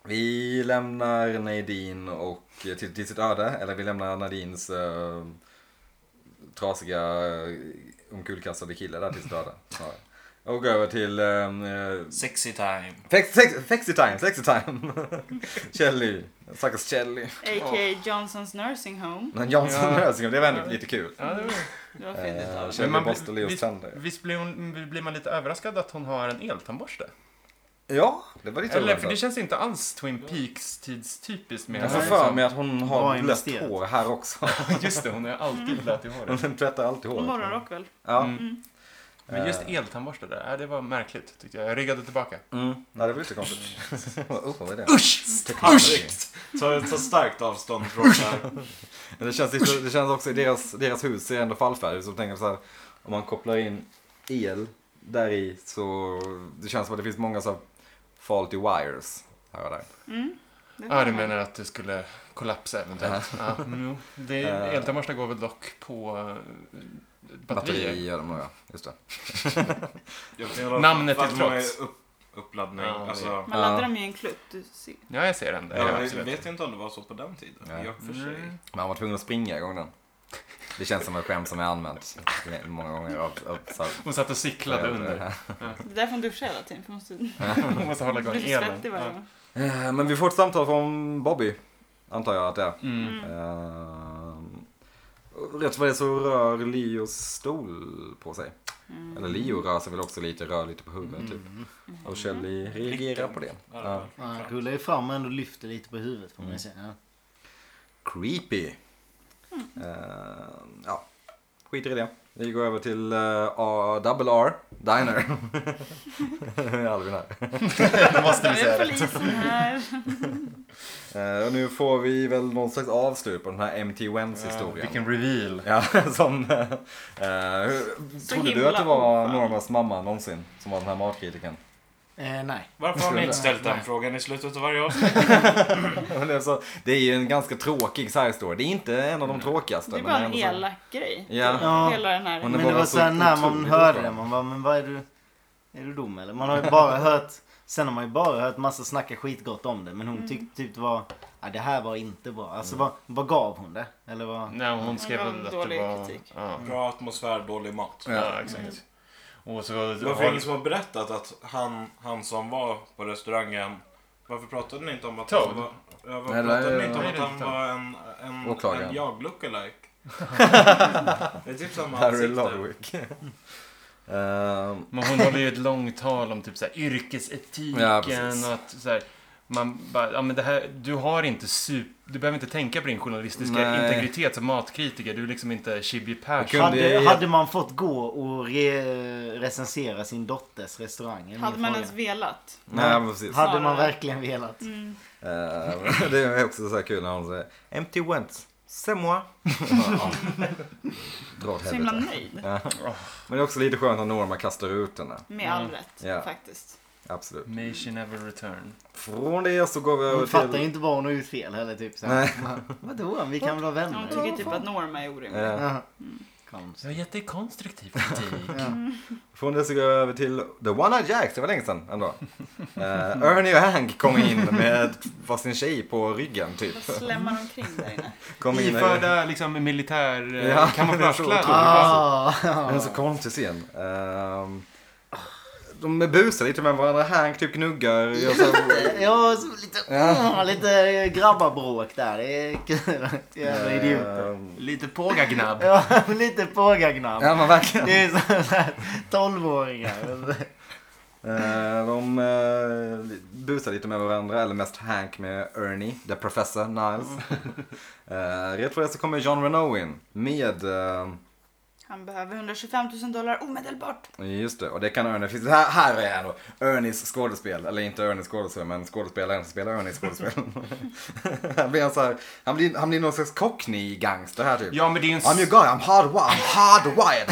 E: Vi lämnar Nadine och eh, till, till sitt öde, eller vi lämnar Nadines eh, trasiga eh, omkullkastade kille där till sitt öde. snarare. Och går över till ehm, eh,
C: Sexy time.
E: fex, fex, Fexy time, sexy time. Kelly, stackars Kelly.
D: A.k.a. Johnsons Nursing Home.
E: Men Johnson
F: Ja.
E: Nursing, det var ändå lite kul.
F: Ja, det var-
D: Det var fint.
E: Eh,
F: Men
E: Kelly
F: man blir-
E: borstar Leos
F: visst-
E: tänder.
F: Visst blir, hon, blir man lite överraskad att hon har en eltandborste?
E: Ja, det var lite
F: Eller,
E: oväntat.
F: för det känns inte alls Twin Peaks tidstypiskt med...
E: Jag får
F: liksom-
E: för mig att hon
A: Vad
E: har
A: är
E: blött
A: mysteriet?
E: hår här också.
F: Just det, hon är alltid blöt i håret.
E: Hon tvättar alltid
D: Och
E: håret.
D: morgonrock väl?
E: Ja.
F: Mm. Men just eltandborste där, ja, det var märkligt tyckte jag. Jag ryggade tillbaka.
E: Mm. Nej, det var lite konstigt. oh, vad är det?
C: Ursäkt! Ta, ta starkt avstånd från det här.
E: Men det, känns, lite- det känns också, deras, deras hus är ändå fallfärdigt. Så jag tänker så här, om man kopplar in el där i så det känns som att det finns många så här faulty wires här och där.
D: Mm.
F: Ja, du menar att det skulle kollapsa eventuellt? Ja, mm, jo. Det-
E: Eh.
F: Eltandborstar går väl dock på eh, batterier?
E: Batterier gör de nog ja, just det.
C: Jag menar,
F: Namnet till
C: att man är
F: trots.
C: Upp, uppladdning.
F: Ja,
C: alltså,
F: det-
D: Man laddar dem i en klutt. Du ser.
F: Ja, jag ser den där.
C: jag
F: Ja,
C: vet-
F: absolut.
C: vet inte om det var så på den tiden.
E: Nej.
C: Jag för sig.
F: Mm.
E: Men han var tvungen att springa igång den. Det känns som ett skämt som är använt många gånger. Av, av, så här,
F: Hon satt och cyklade under.
D: Det är därför hon duschar hela tiden. För hon måste
F: Hon måste hålla igång
D: bli
F: elen.
D: svettig varje gång.
E: Eh, Men vi får ett samtal från Bobby, antar jag att det är.
F: Ja. Mm.
D: Mm.
E: Ehm, Rätt vad det är så rör Leos stol på sig. Eller Leo rör sig väl också lite, rör lite på huvudet typ. Och Shelly reagerar på det.
C: Ja,
E: Ja.
A: Ja, Han rullar ju fram och ändå lyfter lite på huvudet
E: Mm.
A: får man ju säga. Ja.
E: Creepy. Ehm, ja, skiter Eh, i det. Vi går över till eh, A- Double R, Diner. Alvin här.
D: Det måste vi säga. polisen här.
E: Eh, och nu får vi väl någon slags avslut på den här MT Wens historien.
F: Vilken reveal.
E: Ja, som... eh, eh, hur-
D: Så
E: trodde du
D: himla
E: att det var
D: ofan.
E: Normas mamma någonsin som var den här matkritiken?
A: Eh, nej.
B: Varför har ni inte ställt den frågan i slutet av varje avsnitt?
E: Men alltså, det är ju en ganska tråkig side story. Det är inte en av de tråkigaste.
D: Det är
E: men
D: bara en
E: ändå så-
D: elak grej.
E: Ja.
A: Ja.
D: Hela den här.
E: Hon är
A: Men
E: bara
A: det var
E: så
A: såhär när man
E: otroligt
A: hörde
E: bra.
A: det, man bara men vad är du? Är du dum eller? Man har ju bara hört Sen har man ju bara hört massa snacka skitgott om det men
D: Mm.
A: hon tyckte typ det var ja, det här var inte bra. Alltså
E: Mm.
A: vad, vad gav hon det? Eller vad?
F: Nej, hon skrev
D: gav
F: väl att det
D: dålig
F: var...
D: kritik.
F: Ja.
C: Bra atmosfär, dålig mat.
F: ja, exakt. Och så var det...
C: Varför är det ingen som har berättat att han, han som var på restaurangen, varför pratade ni inte om att
F: Toad?
C: han var, ja, varför
E: Nej,
C: pratade
E: nej,
C: ni inte om
F: nej,
C: att
F: det är
C: han
F: inte
C: var en, en,
E: Åklagaren.
C: en jag lookalike? det är typ samma
E: Barry
C: ansikte.
E: Lodwick. Ehm,
F: Men hon håller ju ett långt tal om typ så här, yrkesetiken
E: Ja, precis.
F: och att så här, man bara, ja men det här, du har inte sup, du behöver inte tänka på din journalistiska
E: Nej.
F: integritet som matkritiker. Du är liksom inte Chibi Persson.
E: kunde jag
A: Hade,
E: ge-
A: hade man fått gå och re, recensera sin dotters restaurang? är min
D: Hade man
A: fråga.
D: ens velat?
E: nej, men precis.
A: hade man
D: Snarare. Mm.
A: verkligen velat?
E: Ehm, det är också så här kul när hon säger Empty Wentz, c'est moi. Ja. Dra åt
D: Så himla
E: helvete.
D: nöjd.
E: Ja. Men det är också lite skönt när Norma kastar ut henne.
D: Med all rätt
E: Ja.
D: faktiskt.
E: Absolut.
F: May she never return.
E: Från det så går vi över
A: Hon fattar ju
E: till...
A: inte vad hon har gjort fel heller typ så
E: Nej.
A: här. Vadå? Vi kan väl vara
D: Hon
A: vänner?
D: tycker typ att Mm. Norma är orimlig.
E: Eh,
A: Ja. Konstigt.
F: Jag har gett dig konstruktiv kritik.
E: Från det så går jag över till The One Eye Jacks, det var länge sedan ändå. Eh, Ernie och Hank kom in med varsin tjej på ryggen typ.
D: Vad slämmar omkring där inne?
E: Kom in
F: Iförda liksom militär eh,
E: Ja, det är så
F: kamouflagekläder.
E: otroligt.
A: Ah,
E: Det är så konstig scen. Ehm, de busar lite med varandra, Hank typ gnuggar. gör så här-
A: ja, så lite, ah,
E: Ja.
A: lite grabbarbråk där. Det är kul. Jävla idioter.
E: Ehm,
F: Lite pågagnabb.
A: Ja, lite pågagnabb.
E: Ja men verkligen.
A: Det är så- så här, tolvåringar.
E: Eh, de eh, busar lite med varandra, eller mest Hank med Ernie, the professor Niles.
A: Mm.
E: Eh, Rätt vad det är så kommer John Renault in med, eh,
D: Han behöver 125 000 dollar omedelbart.
E: just det, och det kan Ernie, finns, här, här är han då, Ernies skådespel, eller inte Ernies skådespel, men skådespelaren som spelar Ernies skådespel. han, blir så här, han, blir, han blir någon slags cockney-gangster här typ.
F: Ja men det är ju en...
E: I'm your guy, I'm hard, I'm hardwired.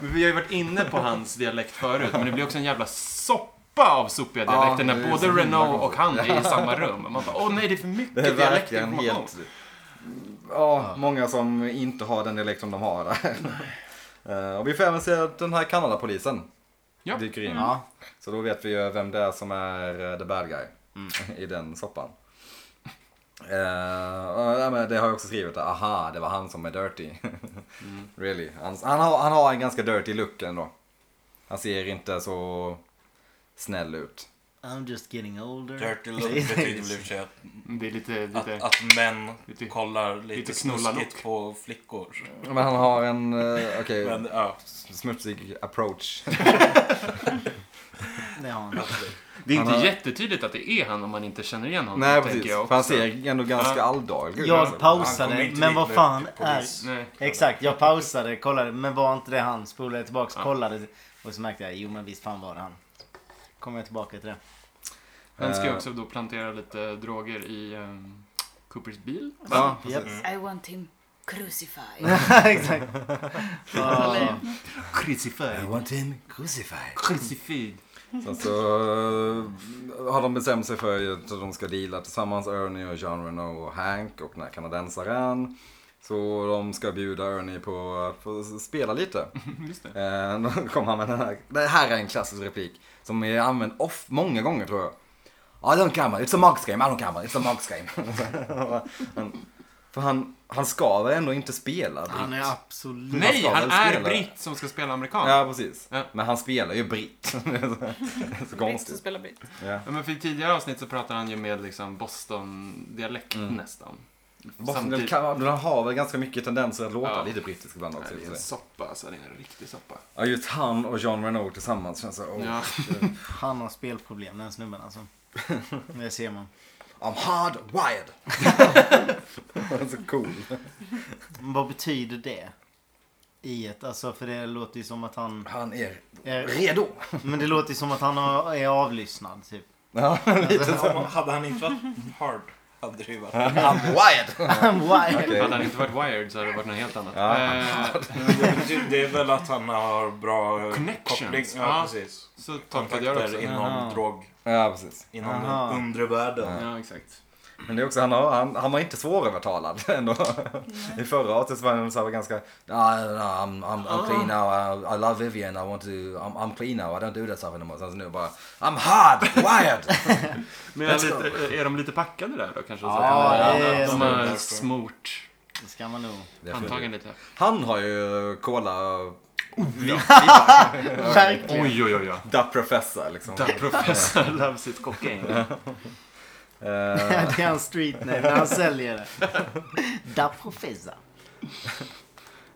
F: Vi har ju varit inne på hans dialekt förut, men det blir också en jävla soppa av sopiga
E: Ja,
F: dialekter
E: det
F: när
E: är
F: både
E: så himla
F: Renault och
E: konstigt.
F: han är i samma rum. Man bara, åh nej, det är för mycket
E: Det är verkligen
F: dialektinformation."
E: helt... Ja, många som inte har den dialekt som de har där. Eh, och vi får även se att den här Kanadapolisen
F: Ja.
E: dyker in.
A: Ja.
E: Så då vet vi ju vem det är som är eh, the bad guy i den soppan. Eh, och, ja, men det har jag också skrivit, aha, det var han som är dirty. really. Han, han, har, han har en ganska dirty look ändå. Han ser inte så snäll ut.
A: I'm just getting older.
C: Dirty look betyder väl i och för sig att,
F: Det är lite,
C: att,
F: lite...
C: att män
F: lite-
C: kollar lite,
F: lite knullarlook.
C: snuskigt på flickor.
E: Men han har en, eh, okej,
C: Men ja,
E: smutsig approach.
A: Det har han.
F: Det är inte
E: Han har-
F: jättetydligt att det är han om man inte känner igen honom.
E: Nej
F: tänker
E: precis,
F: jag
E: för han
F: också.
E: ser ändå ganska
F: Ja.
E: alldaglig ut.
A: Jag
E: alltså.
C: Han kommer
A: pausade,
C: inte
A: men
C: dit
A: vad
C: med
A: fan är...
C: polis.
F: Nej.
A: Exakt, jag pausade, kollade, men var inte det han? Spolade jag tillbaks, kollade och så märkte jag, jo men visst fan var det han. Kommer jag tillbaka till det.
F: Han ska ju
E: Eh.
F: också då plantera lite droger i ehm, Coopers bil.
E: Ja.
A: Japp.
D: I want him
E: Mm.
D: crucified.
A: Exakt. Ja.
E: I
F: Crucified.
E: want him crucified.
F: Crucified.
E: Sen så eh, har de bestämt sig för att de ska deala tillsammans, Ernie och John Renault och Hank och den här kanadensaren. Så de ska bjuda Ernie på att få spela lite.
F: Just det.
E: Eh, Då kom han med den här. Det här är en klassisk replik som är använd off många gånger tror jag. I don't gamble, it's a mugs game, I don't gamble, it's a mugs game. han, för han, han ska väl ändå inte spela britt?
A: Han är absolut...
F: Nej,
E: ska
F: han
E: väl
F: är
E: spela.
F: britt som ska spela amerikan. Ja.
E: Ja, precis.
F: Ja.
E: Men han spelar ju britt. det är så- det är så
D: Som
E: konstigt.
D: spelar Britt.
E: Ja.
F: men för i tidigare avsnitt så pratar han ju med liksom Boston-dialekt
E: Mm.
F: nästan.
E: Boston,
F: Samtidigt-
E: kan- Den har väl ganska mycket tendenser att låta
F: Ja.
E: lite brittisk ibland också.
F: Nej, det är en
E: Typ så.
F: soppa alltså, det är en riktig soppa.
E: Ja, just han och John Renault tillsammans känns så här, oh,
F: Ja.
A: Han har spelproblem den snubben alltså. Det ser man.
E: I'm hard wired. så cool.
A: Men Vad betyder det? i ett. Alltså för det låter ju som att han...
E: Han är
A: Är,
E: redo.
A: men det låter ju som att han har- är avlyssnad typ.
E: Ja, lite så.
C: Om- Hade han inte varit hard hade det ju varit...
E: I'm wired.
A: I'm wired.
E: Okej.
F: Hade han inte varit wired så hade det varit något helt annat.
E: Ja.
F: Eh,
C: Det är väl att han har bra eh,
F: Connections.
C: koppling.
F: Ja.
C: Ja, precis.
F: så tolkade jag det också.
C: Kontakter
A: Aha.
C: inom drog...
E: Ja, precis.
C: Inom
A: Aha.
C: den undre världen.
F: Ja, exakt.
E: Men det är också, han, har, han, han var inte svårövertalad ändå. I förra avsnittet var han så här ganska... "Ah, no, I'm, I'm,
D: Ah.
E: I'm clean now, I, I love Vivian, I want to... I'm, I'm clean now, I don't do that stuff anymore. Sen så nu bara... I'm hard, wired!
F: Men är, lite, eh, är de lite packade där då kanske?
A: Ja,
F: Så att-
A: det är
F: de
A: de.
F: har smort
A: Det ska man nog.
E: Det är
F: handtagen lite.
E: Han har ju cola...
A: Verkligen.
F: Oj, oj, oj. oj.
E: Da Professor liksom.
F: Där professor loves it cocaine.
E: Eh,
A: Det är hans street name när han säljer det. Da Professor.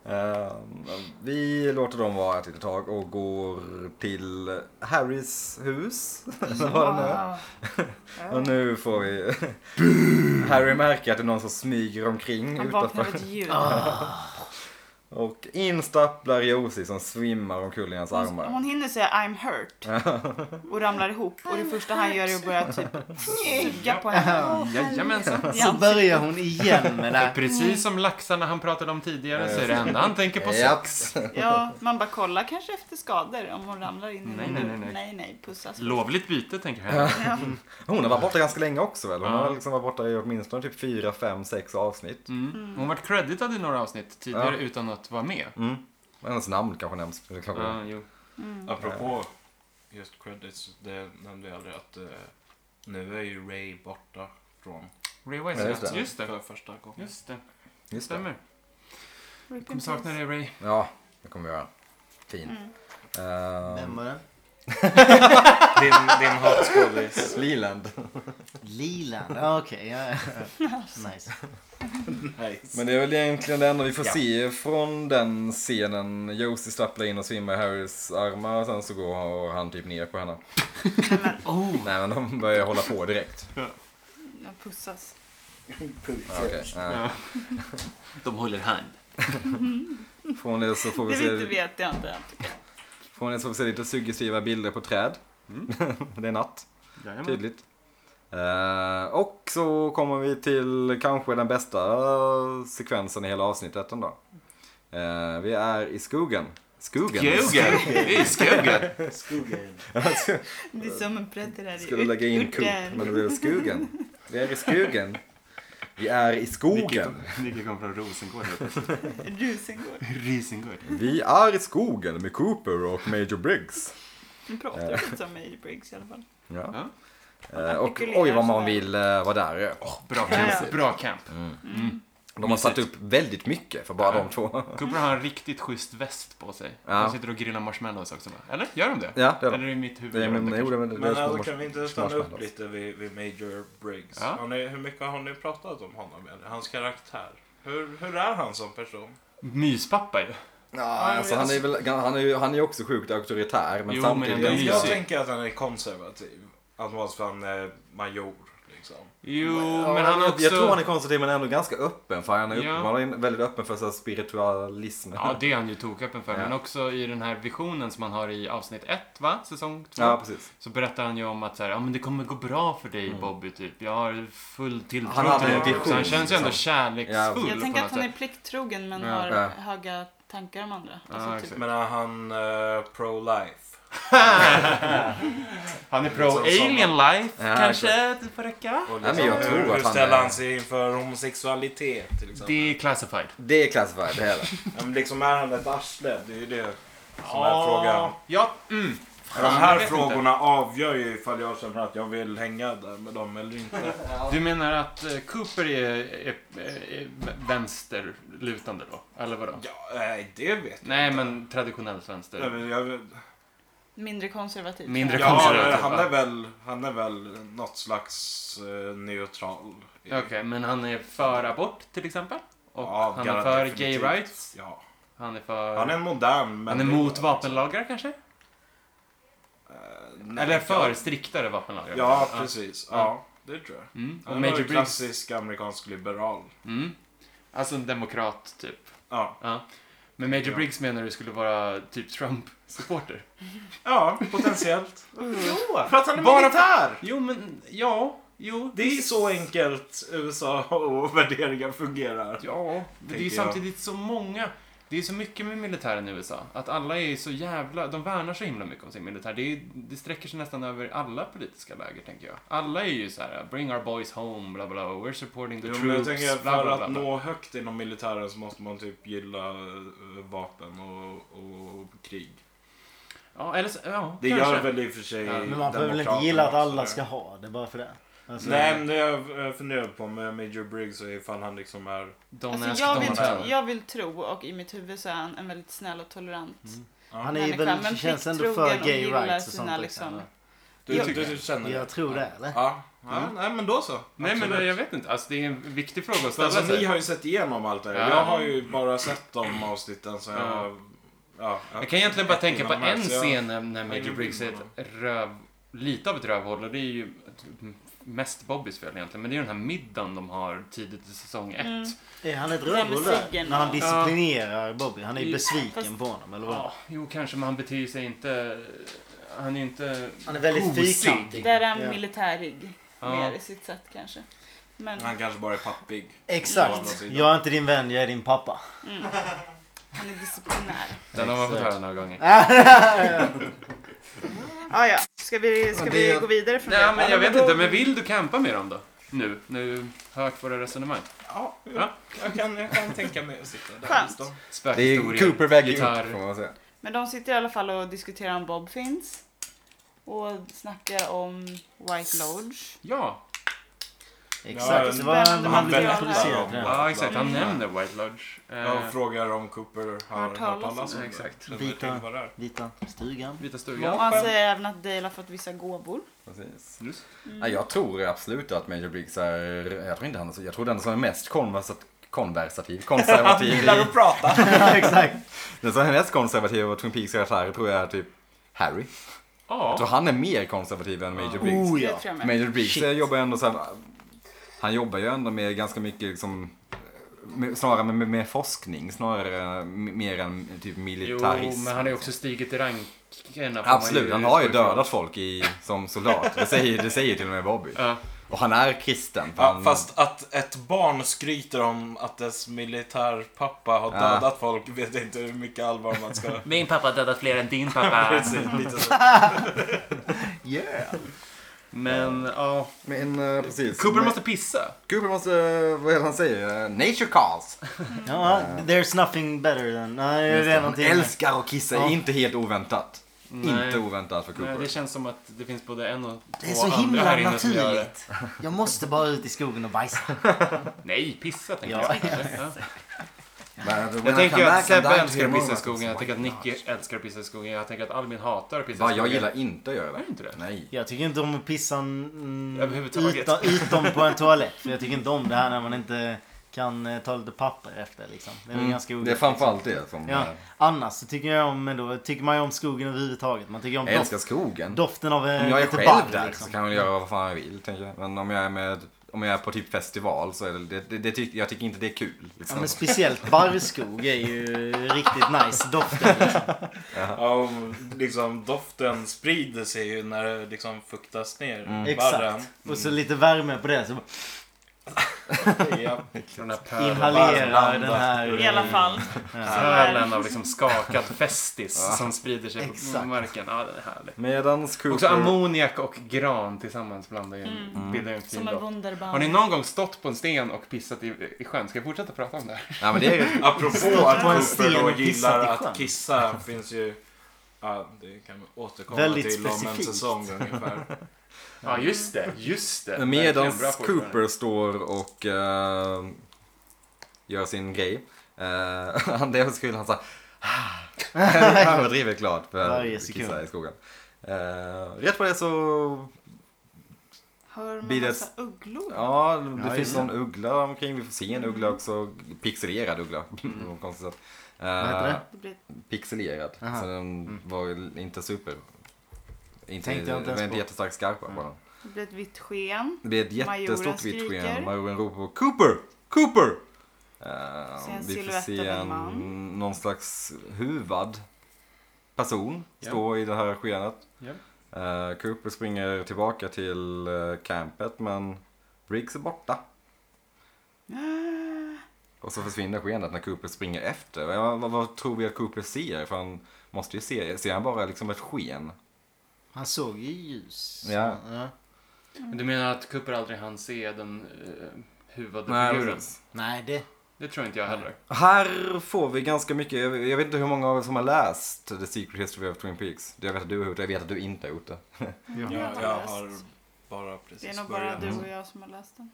E: Eh, vi låter dem vara ett litet tag och går till Harrys hus. Eller vad det nu är. Och nu får vi... Harry märker att det är någon som smyger omkring
D: Han vaknar av
E: utanför.
D: ett ljud.
E: Och instapplar Josie som svimmar omkull i hans
D: Hon,
E: armar.
D: hon hinner säga I'm hurt och ramlar ihop och det första han gör är att börja typ suga på henne.
F: Jajamensan.
A: Så börjar hon igen med det. här.
F: Precis som laxarna han pratade om tidigare så är det enda han tänker på sex.
E: Japp.
D: Ja, man bara kollar kanske efter skador om hon ramlar in i
F: Nej,
D: någon-
F: nej, nej, nej.
D: nej, nej, pussas.
F: Lovligt byte tänker han.
E: Hon har varit borta ganska länge också väl? Hon
F: Ja.
E: har liksom varit borta i åtminstone typ 4, 5, 6 avsnitt.
F: Mm. Hon varit creditad i några avsnitt tidigare
E: Ja.
F: utan att vara med.
E: Och Hennes namn kanske nämns. Det kanske-
F: Ja, jo.
C: Mm. Apropå just credits, det nämnde jag aldrig att eh, nu är ju Ray borta från
F: Ray
E: Ja,
F: Wise,
E: just
F: just,
E: det.
F: det.
C: för första gången.
F: Just det,
E: Just det.
F: stämmer. Kommer sakna dig Ray.
E: Ja, det kommer vi göra. Fin. Eh,
A: Vem var det?
C: Din, din hatskådis.
E: Leland.
A: Liland. Ja, Okej, ja, ja. Nice.
E: Men det är väl egentligen det enda vi får se från den scenen. Josie stapplar in och svimmar i Harrys armar och sen så går han typ ner på henne. Nej men de börjar hålla på direkt.
D: Ja, pussas.
E: Ja, okej. Ja.
F: De håller hand.
E: Från det så får vi
D: Det vet, det
E: se,
D: vet jag inte.
E: från det så får vi se lite suggestiva bilder på träd.
F: Mm.
E: det är natt,
F: Jajamän.
E: tydligt. Eh, och så kommer vi till kanske den bästa sekvensen i hela avsnittet ändå. Eh, vi är i skogen. Skogen?
F: Skogen! Vi är i skogen!
D: Det är som en prätt där i
E: skulle lägga in Coop, men det blev skogen. Vi är i skogen. Vi är i skogen.
F: Nicke kom från Rosengård.
D: Rosengård.
F: Risengård.
E: Vi är i skogen med Cooper och Major Briggs.
D: Nu pratar
A: Eh.
D: jag inte om Major Briggs i alla fall.
E: Ja.
F: Ja.
E: Eh, Och oj vad man vill eh, vara där. ja.
F: Bra
D: Ja,
F: camp.
D: ja.
F: Bra camp.
E: De har satt upp väldigt mycket för bara de två.
F: Cooper har en riktigt schysst väst på sig.
E: Ja.
F: Han sitter och grillar marshmallows också. va? Eller? Gör de det?
E: Ja, det är
F: Eller
E: de.
F: är det i mitt huvud?
E: Det,
F: gör de
E: men,
F: det
E: jo,
F: kanske?
E: det, men, det,
C: Men
E: är små
C: alltså, kan vi inte stanna upp
E: marshmallows.
C: lite vid, vid Major Briggs?
F: Ja.
C: Har ni, hur mycket har ni pratat om honom? Eller? Hans karaktär? Hur, hur är han som person?
F: Myspappa ju.
E: Ja, alltså, han är väl, han är ju han är ju också sjukt auktoritär men
F: Jo, men
E: samtidigt.
F: det är
C: Jag,
F: mysig.
C: jag tänker att han är konservativ. Att man för han är major. Liksom.
F: Jo,
E: Ja,
F: men han
E: jag,
F: är också...
E: jag tror han är konservativ men ändå ganska öppen för han är, upp,
F: Ja.
E: han är väldigt öppen för så här, spiritualism.
F: Ja, det är han ju toköppen för.
E: Ja.
F: Men också i den här visionen som man har i avsnitt 1, va? Säsong 2.
E: ja precis.
F: Så berättar han ju om att så här, ja, men det kommer gå bra för dig Bobby, typ. Jag har full tilltro
E: Han hade
F: till
E: en
F: dig. typ. Så han
E: vision,
F: känns ju ändå
E: liksom. Ja,
F: kärleksfull
E: precis.
D: Jag
F: på
D: tänker att
F: något
D: han är
F: sätt.
D: pliktrogen men
F: Ja.
D: har
E: Ja.
D: höga tankar om andra.
F: Ja,
D: Alltså,
F: exakt.
D: typ.
C: Men är han eh, pro-life?
F: Han är
C: Som- som-
F: pro-alien life,
E: Ja,
F: kanske. typ Det får räcka.
C: Och liksom
E: Nej, men jag tror
C: hur,
E: att
C: hur
E: han
C: ställer
E: är-
C: han sig inför homosexualitet till exempel?
F: Det är classified.
E: Det är classified, det är det.
C: Ja, men liksom, är han ett arsle? Det är ju det som är frågan.
F: Ja, mm.
C: För de här
F: jag vet
C: frågorna avgör ju ifall jag känner att jag vill hänga där med dem eller inte.
F: Du menar att eh, Cooper är, är, är vänsterlutande då? Eller vadå?
C: Ja, nej, det vet jag.
F: Nej, men traditionellt
C: Nej,
F: vänster.
C: men jag
D: Mindre konservativ.
F: Mindre-
C: ja,
F: konservativ,
C: men han
F: va?
C: är väl, han är väl något slags eh, neutral.
F: Okej, men han är för abort till exempel? Och
C: Ja,
F: han är
C: garan-
F: för
C: definitivt.
F: gay rights?
C: Ja.
F: Han är för...
C: Han är en modern
F: han är mot vapenlagar kanske?
C: Eh, Nej,
F: Eller för
C: ja.
F: striktare vapenlagar?
C: Ja, precis. Ja, det tror jag.
F: Mm. Och
C: Han var
F: Major
C: ju
F: Briggs?
C: klassisk amerikansk liberal.
F: Mm. Alltså en demokrat, typ.
C: Ja.
F: Ja. Men Major Briggs menar du skulle vara typ Trump-supporter?
C: Ja, potentiellt.
D: Jo.
C: För att han är
F: Bara-
C: militär!
F: Jo, men ja. Jo,
C: Det är så enkelt USA och värderingar fungerar.
F: Ja, det är ju
C: tänker
F: samtidigt så många. Det är så mycket med militären i USA. Att alla är så jävla... De värnar så himla mycket om sin militär. Det, är, det sträcker sig nästan över alla politiska läger, tänker jag. Alla är ju så här, bring our boys home, bla bla, we're supporting the
C: Jo, men jag
F: troops,
C: tänker
F: bla bla
C: för
F: bla.
C: att
F: bla.
C: nå högt inom militären så måste man typ gilla eh, vapen och, och krig.
F: Ja, eller så, ja,
C: Det
F: kanske.
C: gör väl i och för sig
F: Ja,
A: Men man behöver väl inte
C: demokraterna
A: gilla att
C: också,
A: alla
C: det.
A: ska ha det bara för det. Alltså,
C: Nej, men det jag eh, funderar på med Major Briggs är ifall han liksom är...
F: Don't ask,
D: Alltså, jag,
F: don't
D: vill,
F: tell.
D: jag vill tro och i mitt huvud så är han en väldigt snäll och tolerant
F: Mm.
A: Han är
D: människa,
A: väl,
D: men
A: känns ändå
D: plikttrogen
A: för
D: och
A: gay
D: gillar
A: rights och
D: sina
A: sånt. där,
D: liksom-
A: va?
C: Du,
D: Jag-
C: du, du känner
A: Jag
C: det?
A: tror det, eller?
C: Ja. ja Nej, men då så.
F: Mm. Nej, men
C: Absolut.
F: jag vet inte. Alltså, det är en viktig fråga att
C: För
F: ställa
C: alltså,
F: sig.
C: ni har ju sett igenom allt det här.
F: Ja.
C: Jag har ju bara sett de avsnitten som jag...
F: Ja.
C: har- Ja,
F: Jag kan egentligen bara tänka på
C: innan de här,
F: en
C: så jag-
F: scen när, när
C: jag
F: Major
C: gjorde
F: Briggs är ett
C: innan
F: röv, lite av ett rövhål och det är ju mest Bobbys fel egentligen. Men det är ju den här middagen de har tidigt i säsong ett.
D: Mm.
A: Är han ett
D: Jag är
A: rövhål där?
D: besviken.
A: När han
D: Ja.
A: disciplinerar Bobby. Han är ju
F: Ja,
A: besviken
D: fast-
A: på honom, eller vad?
F: Ja, jo kanske, men han beter sig inte... Han är ju inte...
A: Han är väldigt
F: Gosig.
A: fyrkantig.
D: Där är han
A: Ja.
D: militärig
F: Ja.
D: mer i sitt sätt kanske. Men
C: Han kanske bara är pappig. Å andra
A: Exakt.
C: sidan.
A: Jag är inte din vän, jag är din pappa.
D: han är disciplinär.
F: Den har man fått höra några gånger.
D: Ah, ja. Ska vi, ska
F: Ja,
D: vi
F: det-
D: gå vidare från
F: Nej,
D: det?
F: men jag vet inte, men vill du campa med dem då? Nu, nu har jag hört våra resonemang.
C: Ja,
F: Ja.
C: jag kan, jag kan tänka mig att sitta där
D: Skönt.
C: en stund.
E: Det är
F: Spökhistorier,
E: Cooper väger
F: gitarr.
E: upp får man säga.
D: Men de sitter i alla fall och diskuterar om Bob finns. Och snackar om White Lodge.
F: Ja,
A: Exakt. Det var,
D: Spännande
A: man blev
D: material här.
A: introducerad till
F: ja, exakt. Han
C: Mm.
F: nämner White Lodge. Eh,
C: Jag frågar om Cooper har
D: Hört talas
C: hört
D: om
C: talas om
F: det.
C: det.
F: Exakt.
C: Känner
A: Vita.
C: till vad det är.
A: Vita stugan.
F: Vita
D: Och
F: stugan.
D: han säger även att Dale har fått vissa gåvor.
E: Precis.
F: Just.
E: Ja, jag tror absolut att Major Briggs är, jag tror inte han är så, jag tror den som är mest konversat, konversativ, konservativ. i-
C: prata.
A: Exakt.
E: den som är mest konservativ av Twin Peaks karaktärer tror jag är typ Harry. Jag tror
F: Ja,
E: han är mer konservativ än Major Briggs.
A: Oh
D: Det
A: ja.
D: tror jag med.
E: Major Briggs
A: Shit.
E: eh, jobbar ju ändå så här, han jobbar ju ändå med ganska mycket liksom med, snarare med, med forskning snarare eh, mer än typ
F: jo,
E: militarism.
F: men han har ju också stigit i rankerna. får man
E: Absolut, han har ju
F: utgå ifrån.
E: dödat folk i, som soldat. Det säger, det säger till och med Bobby.
F: Ja.
E: Och han är kristen. för
F: Mm.
C: Ja,
E: han,
C: fast att ett barn skryter om att dess militärpappa har
E: Ja.
C: dödat folk vet jag inte hur mycket allvar man ska...
F: Min pappa har dödat fler än din pappa.
C: Precis, lite så.
E: Yeah.
F: Men ja.
E: Men eh, precis.
F: Cooper måste pissa.
E: Cooper måste, vad är det han säger? Eh, Nature calls.
A: ja. There's nothing better than... Nej, det är
E: Han
A: någonting.
E: älskar att kissa,
A: Ja.
E: inte helt oväntat. Inte oväntat för Cooper.
F: Nej, det känns som att det finns både en och två
A: Det är så
F: andra här
A: himla
F: inne som gör det.
A: naturligt. Jag måste bara ut i skogen och bajsa.
F: Nej, pissa tänkte
A: Ja.
F: jag. kanske. Ja.
E: Men when I
F: Jag tänker
E: come
F: att
E: back, I'm
F: Sebbe
E: dying to
F: älskar att
E: hear
F: pissa i
E: more
F: skogen. Jag
E: about
F: tänker att
E: this.
F: Nicky älskar att pissa i skogen. Jag tänker att Albin hatar att pissa i
E: Bara,
F: skogen.
E: jag gillar inte att göra det.
F: Gör inte det?
E: Nej. Nej.
A: Jag tycker inte om att pissa mm,
F: Överhuvudtaget.
A: utom- utom på en toalett. För jag tycker inte om det här när man inte kan eh, ta lite papper efter. Liksom. Det är väl ganska
E: Mm. det är
A: ogött.
E: framförallt det som...
A: Ja.
E: eh,
A: Annars så tycker jag om, ändå, tycker man ju om skogen överhuvudtaget. Man tycker om
E: Jag
A: doft,
E: älskar skogen.
A: doften av eh,
E: Om jag är
A: lite
E: själv
A: barr,
E: där
A: liksom.
E: så kan jag väl göra vad fan jag vill, tänker jag. Men om jag är med, om jag är på typ festival så är det, det, det, det tyck, jag tycker inte det är kul.
A: Ja,
E: Liksom.
A: men speciellt barrskog är ju riktigt nice doften. Liksom.
C: Ja, och liksom doften sprider sig ju när det liksom fuktas ner.
F: Mm.
C: Barren.
A: Exakt. Och så lite värme på det. Så
C: Ja.
F: Den här pölen,
A: inhalerar
C: varmlanda.
A: den här...
D: I alla fall.
F: pölen av liksom skakad festis som sprider sig på
A: Exakt.
F: marken. Ja, den är härlig.
E: Medans Cooper...
F: Också ammoniak och gran tillsammans blandar ju en, bildar ju en fin
D: Som en
F: doft. Har
D: wunderbaum.
F: ni någon gång stått på en sten och pissat i, i sjön? Ska jag fortsätta prata om det här?
E: Nej, men det är
C: Apropå att
A: på en
C: Cooper
A: sten
C: då
A: och
C: gillar
A: pissat i sjön.
C: att kissa finns ju... Ja, det kan vi återkomma
A: Väldigt
C: till om en
A: specifikt.
C: säsong ungefär.
F: Ja, just det. Just det. Verkligen bra
E: Medans
F: fortfarande.
E: Cooper står och eh, gör sin grej. eh, Han det är så kul, han sa Han överdriver klart för
A: Varje
E: att kissa
A: sekund.
E: i skogen. Eh, rätt på det så,
D: Hör man
E: Blir det-
D: massa ugglor?
E: ja det
A: Ja,
E: finns
A: ja.
E: någon uggla omkring. Vi får se en uggla också. Pixelerad uggla. på något konstigt sätt. Eh,
A: Vad heter det?
D: Det blir ett
E: Pixelerad.
A: Aha. Mm.
E: Så den var inte super. Inte,
A: Tänkte jag inte
E: det
A: ens
E: var inte
A: på. Mm.
E: jättestark skarpa på den.
D: det blir ett vitt sken.
E: Det blir ett
D: Majoren
E: jättestort vitt
D: skriker.
E: sken. Majoren ropar Cooper! Cooper! Eh,
D: Se en
E: vi får
D: silhuett
E: se
D: av en
E: en,
D: man.
E: någon slags huvad person
B: Ja.
E: stå i det här skenet.
B: Ja.
E: Eh, Cooper springer tillbaka till eh, campet men Briggs är borta.
D: Ah.
E: Och så försvinner skenet när Cooper springer efter. Ja, vad, vad tror vi att Cooper ser? För han måste ju se, ser han bara liksom ett sken?
A: Han såg ju ljus.
E: Ja.
F: Du menar att Cooper aldrig hann se den uh, huvudade figuren?
E: precis.
A: Nej, det...
F: Det tror inte jag heller.
E: Här får vi ganska mycket, jag, jag vet inte hur många av er som har läst The Secret History of Twin Peaks. Det jag vet att du har gjort det, jag vet att du inte har gjort det.
D: Jag har inte
C: jag
D: läst.
C: har bara
D: Det
C: precis
D: är nog bara
C: börjat.
D: du och jag som har läst den.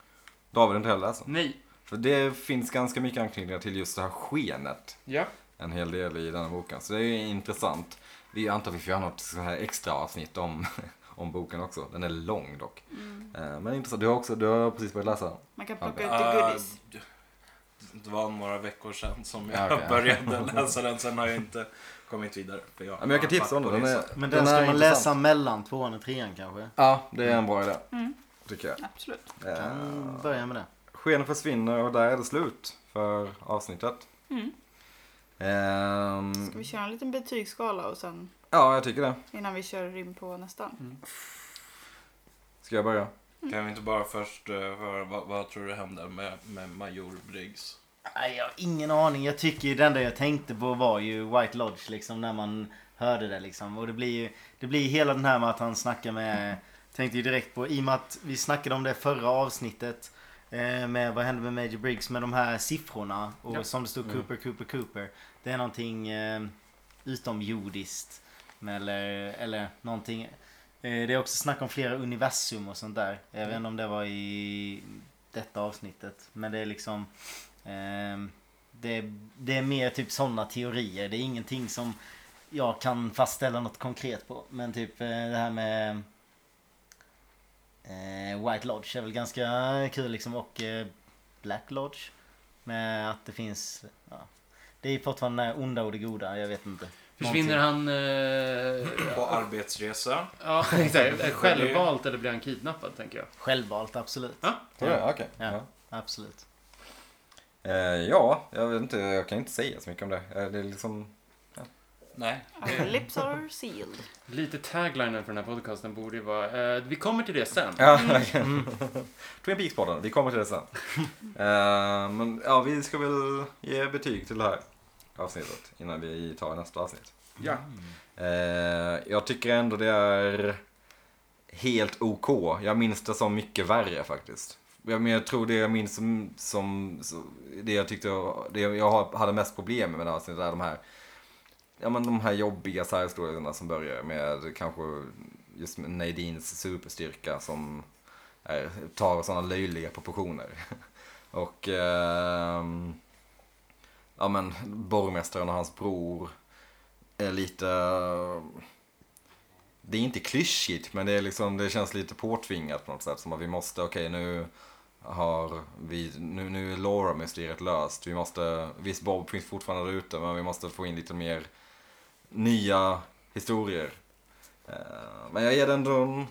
E: David har inte heller läst den.
F: Nej.
E: För det finns ganska mycket anknytningar till just det här skenet.
F: Ja.
E: En hel del i denna boken, så det är intressant. Vi antar vi får göra något så här extra avsnitt om, om boken också. Den är lång dock.
A: Mm.
E: Eh, Men intressant, du har också, du har precis börjat läsa den.
D: Man kan
E: Ja,
D: plocka
C: Ah,
D: ut det goodies.
C: d- Ah, det var några veckor sedan som jag
E: Ja, okej.
C: började läsa den. Sen har jag inte kommit vidare. För jag,
E: Ja, Men jag kan
C: har
E: tipsa om
C: varit
E: den.
C: på
E: den är,
C: resa.
A: Men den,
E: är
A: ska man läsa
E: intressant.
A: mellan tvåan och trean kanske?
E: Ja, det är en bra idé.
D: Mm.
E: Tycker jag.
D: Absolut.
E: Eh,
A: Kan börja med det.
E: Skenet försvinner och där är det slut för avsnittet.
D: Mm.
E: Ehm,
D: Ska vi köra en liten betygsskala och sen
E: ja, jag tycker det.
D: innan vi kör in på nästan?
E: Ska jag börja?
C: Kan vi inte bara först eh, höra vad, vad tror du hände med, med Major Briggs?
A: Nej, jag har ingen aning. Jag tycker ju det enda jag tänkte på var ju White Lodge liksom när man hörde det liksom. Och det blir ju det blir ju hela den här med att han snackar med... Tänkte ju direkt på i och med att vi snackade om det förra avsnittet. eh, Med vad hände med Major Briggs med de här siffrorna och som det stod Cooper, Cooper, Cooper. Det är någonting eh, utomjordiskt. med- Eller, eller någonting. eh, Det är också snack om flera universum och sånt där. Jag vet inte om det var i detta avsnittet. Men det är liksom... Ehm, det, det är mer typ sådana teorier. Det är ingenting som jag kan fastställa något konkret på. Men typ eh, det här med eh, White Lodge är väl ganska kul liksom. Och eh, Black Lodge. Med att det finns... Ja, det är fortfarande det onda och det goda. Jag vet inte.
F: Försvinner han... eh,
C: På arbetsresa?
F: ja, exakt. Självvalt eller blir han kidnappad, tänker jag.
A: Självvalt, absolut.
F: Ja.
E: Ja, ja, okej.
A: Ja.
E: Ja.
A: Absolut.
E: Eh, ja, jag vet inte, jag kan inte säga så mycket om det. Eh, Det är liksom...
C: Nej.
D: Our lips are sealed.
F: Lite taglinen för den här podcasten borde ju vara... eh, vi kommer till det sen.
E: Ja, mm. Twin Peaks-podden, vi kommer till det sen. Eh, men ja, vi ska väl ge betyg till det här avsnittet innan vi tar nästa avsnitt.
F: Ja.
E: Eh, jag tycker ändå det är helt OK. Jag minns det som mycket värre faktiskt. Jag, men jag tror det jag minns som, som så, det jag tyckte jag, det jag har- hade mest problem med det här avsnittet är de här Ja men de här jobbiga särhistorierna som börjar med kanske just med Nadines superstyrka som är, tar sådana löjliga proportioner. Och ehm, ja men borgmästaren och hans bror är lite... Det är inte klyschigt, men det, är liksom, det känns lite påtvingat på något sätt. Som att vi måste, okej nu har vi, nu, nu är Laura-mysteriet löst. Vi måste, visst Bob finns fortfarande där ute, men vi måste få in lite mer nya historier. Eh, Men jag ger den ändå en,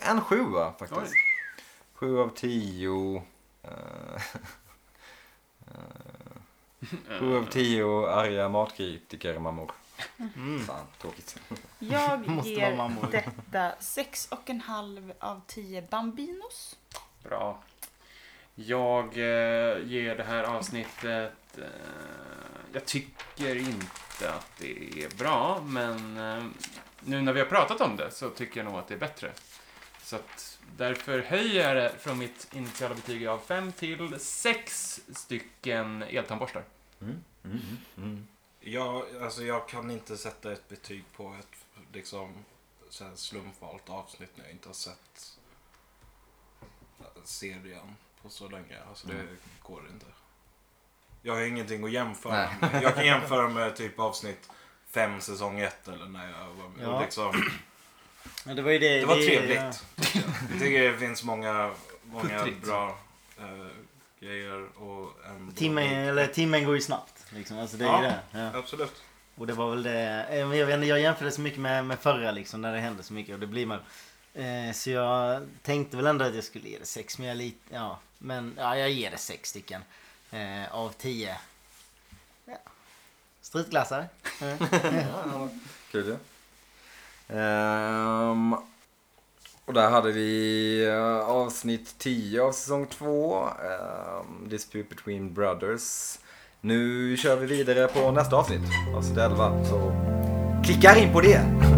E: en sjua faktiskt.
F: Oj.
E: Sju av tio. Eh, Sju av tio arga matkritiker mammor.
A: Mm.
E: Fan, tråkigt.
D: Jag
A: Måste vara mammor.
D: ger detta sex och en halv av tio Bambinos.
F: Bra. Jag eh, ger det här avsnittet... Eh, jag tycker inte att det är bra, men eh, nu när vi har pratat om det så tycker jag nog att det är bättre. Så att därför höjer jag det från mitt initiala betyg av fem till sex stycken eltandborstar.
C: Jag, alltså, jag kan inte sätta ett betyg på ett liksom, så här slumpvalt avsnitt när jag inte har sett serien på så länge. Alltså, det går inte. Jag har ingenting att jämföra med. Jag kan jämföra med typ avsnitt fem säsong ett eller när jag var med.
A: Ja.
C: Och liksom,
A: Men det var ju det.
C: Det var
A: vi-
C: trevligt. Jag tycker det finns många, många
F: Puttrigt.
C: bra eh, grejer och en...
A: Timmen, eller, timmen går ju snabbt. Liksom. Alltså, det är ju
C: Ja.
A: det. Ja.
C: Absolut.
A: Och det var väl det. eh, men Jag, vet inte, jag jämförde så mycket med, med förra liksom, när det hände så mycket. Och det blir man. Eh, så jag tänkte väl ändå att jag skulle ge det sex. Men jag, är lite, ja. men, ja, jag ger det sex stycken. Eh, eh, av 10. Ja. Strutglassare.
E: Kul ju. Ehm, och där hade vi eh, avsnitt 10 av säsong 2. Um, Dispute between brothers. Nu kör vi vidare på nästa avsnitt, avsnitt 11. Så klicka in på det!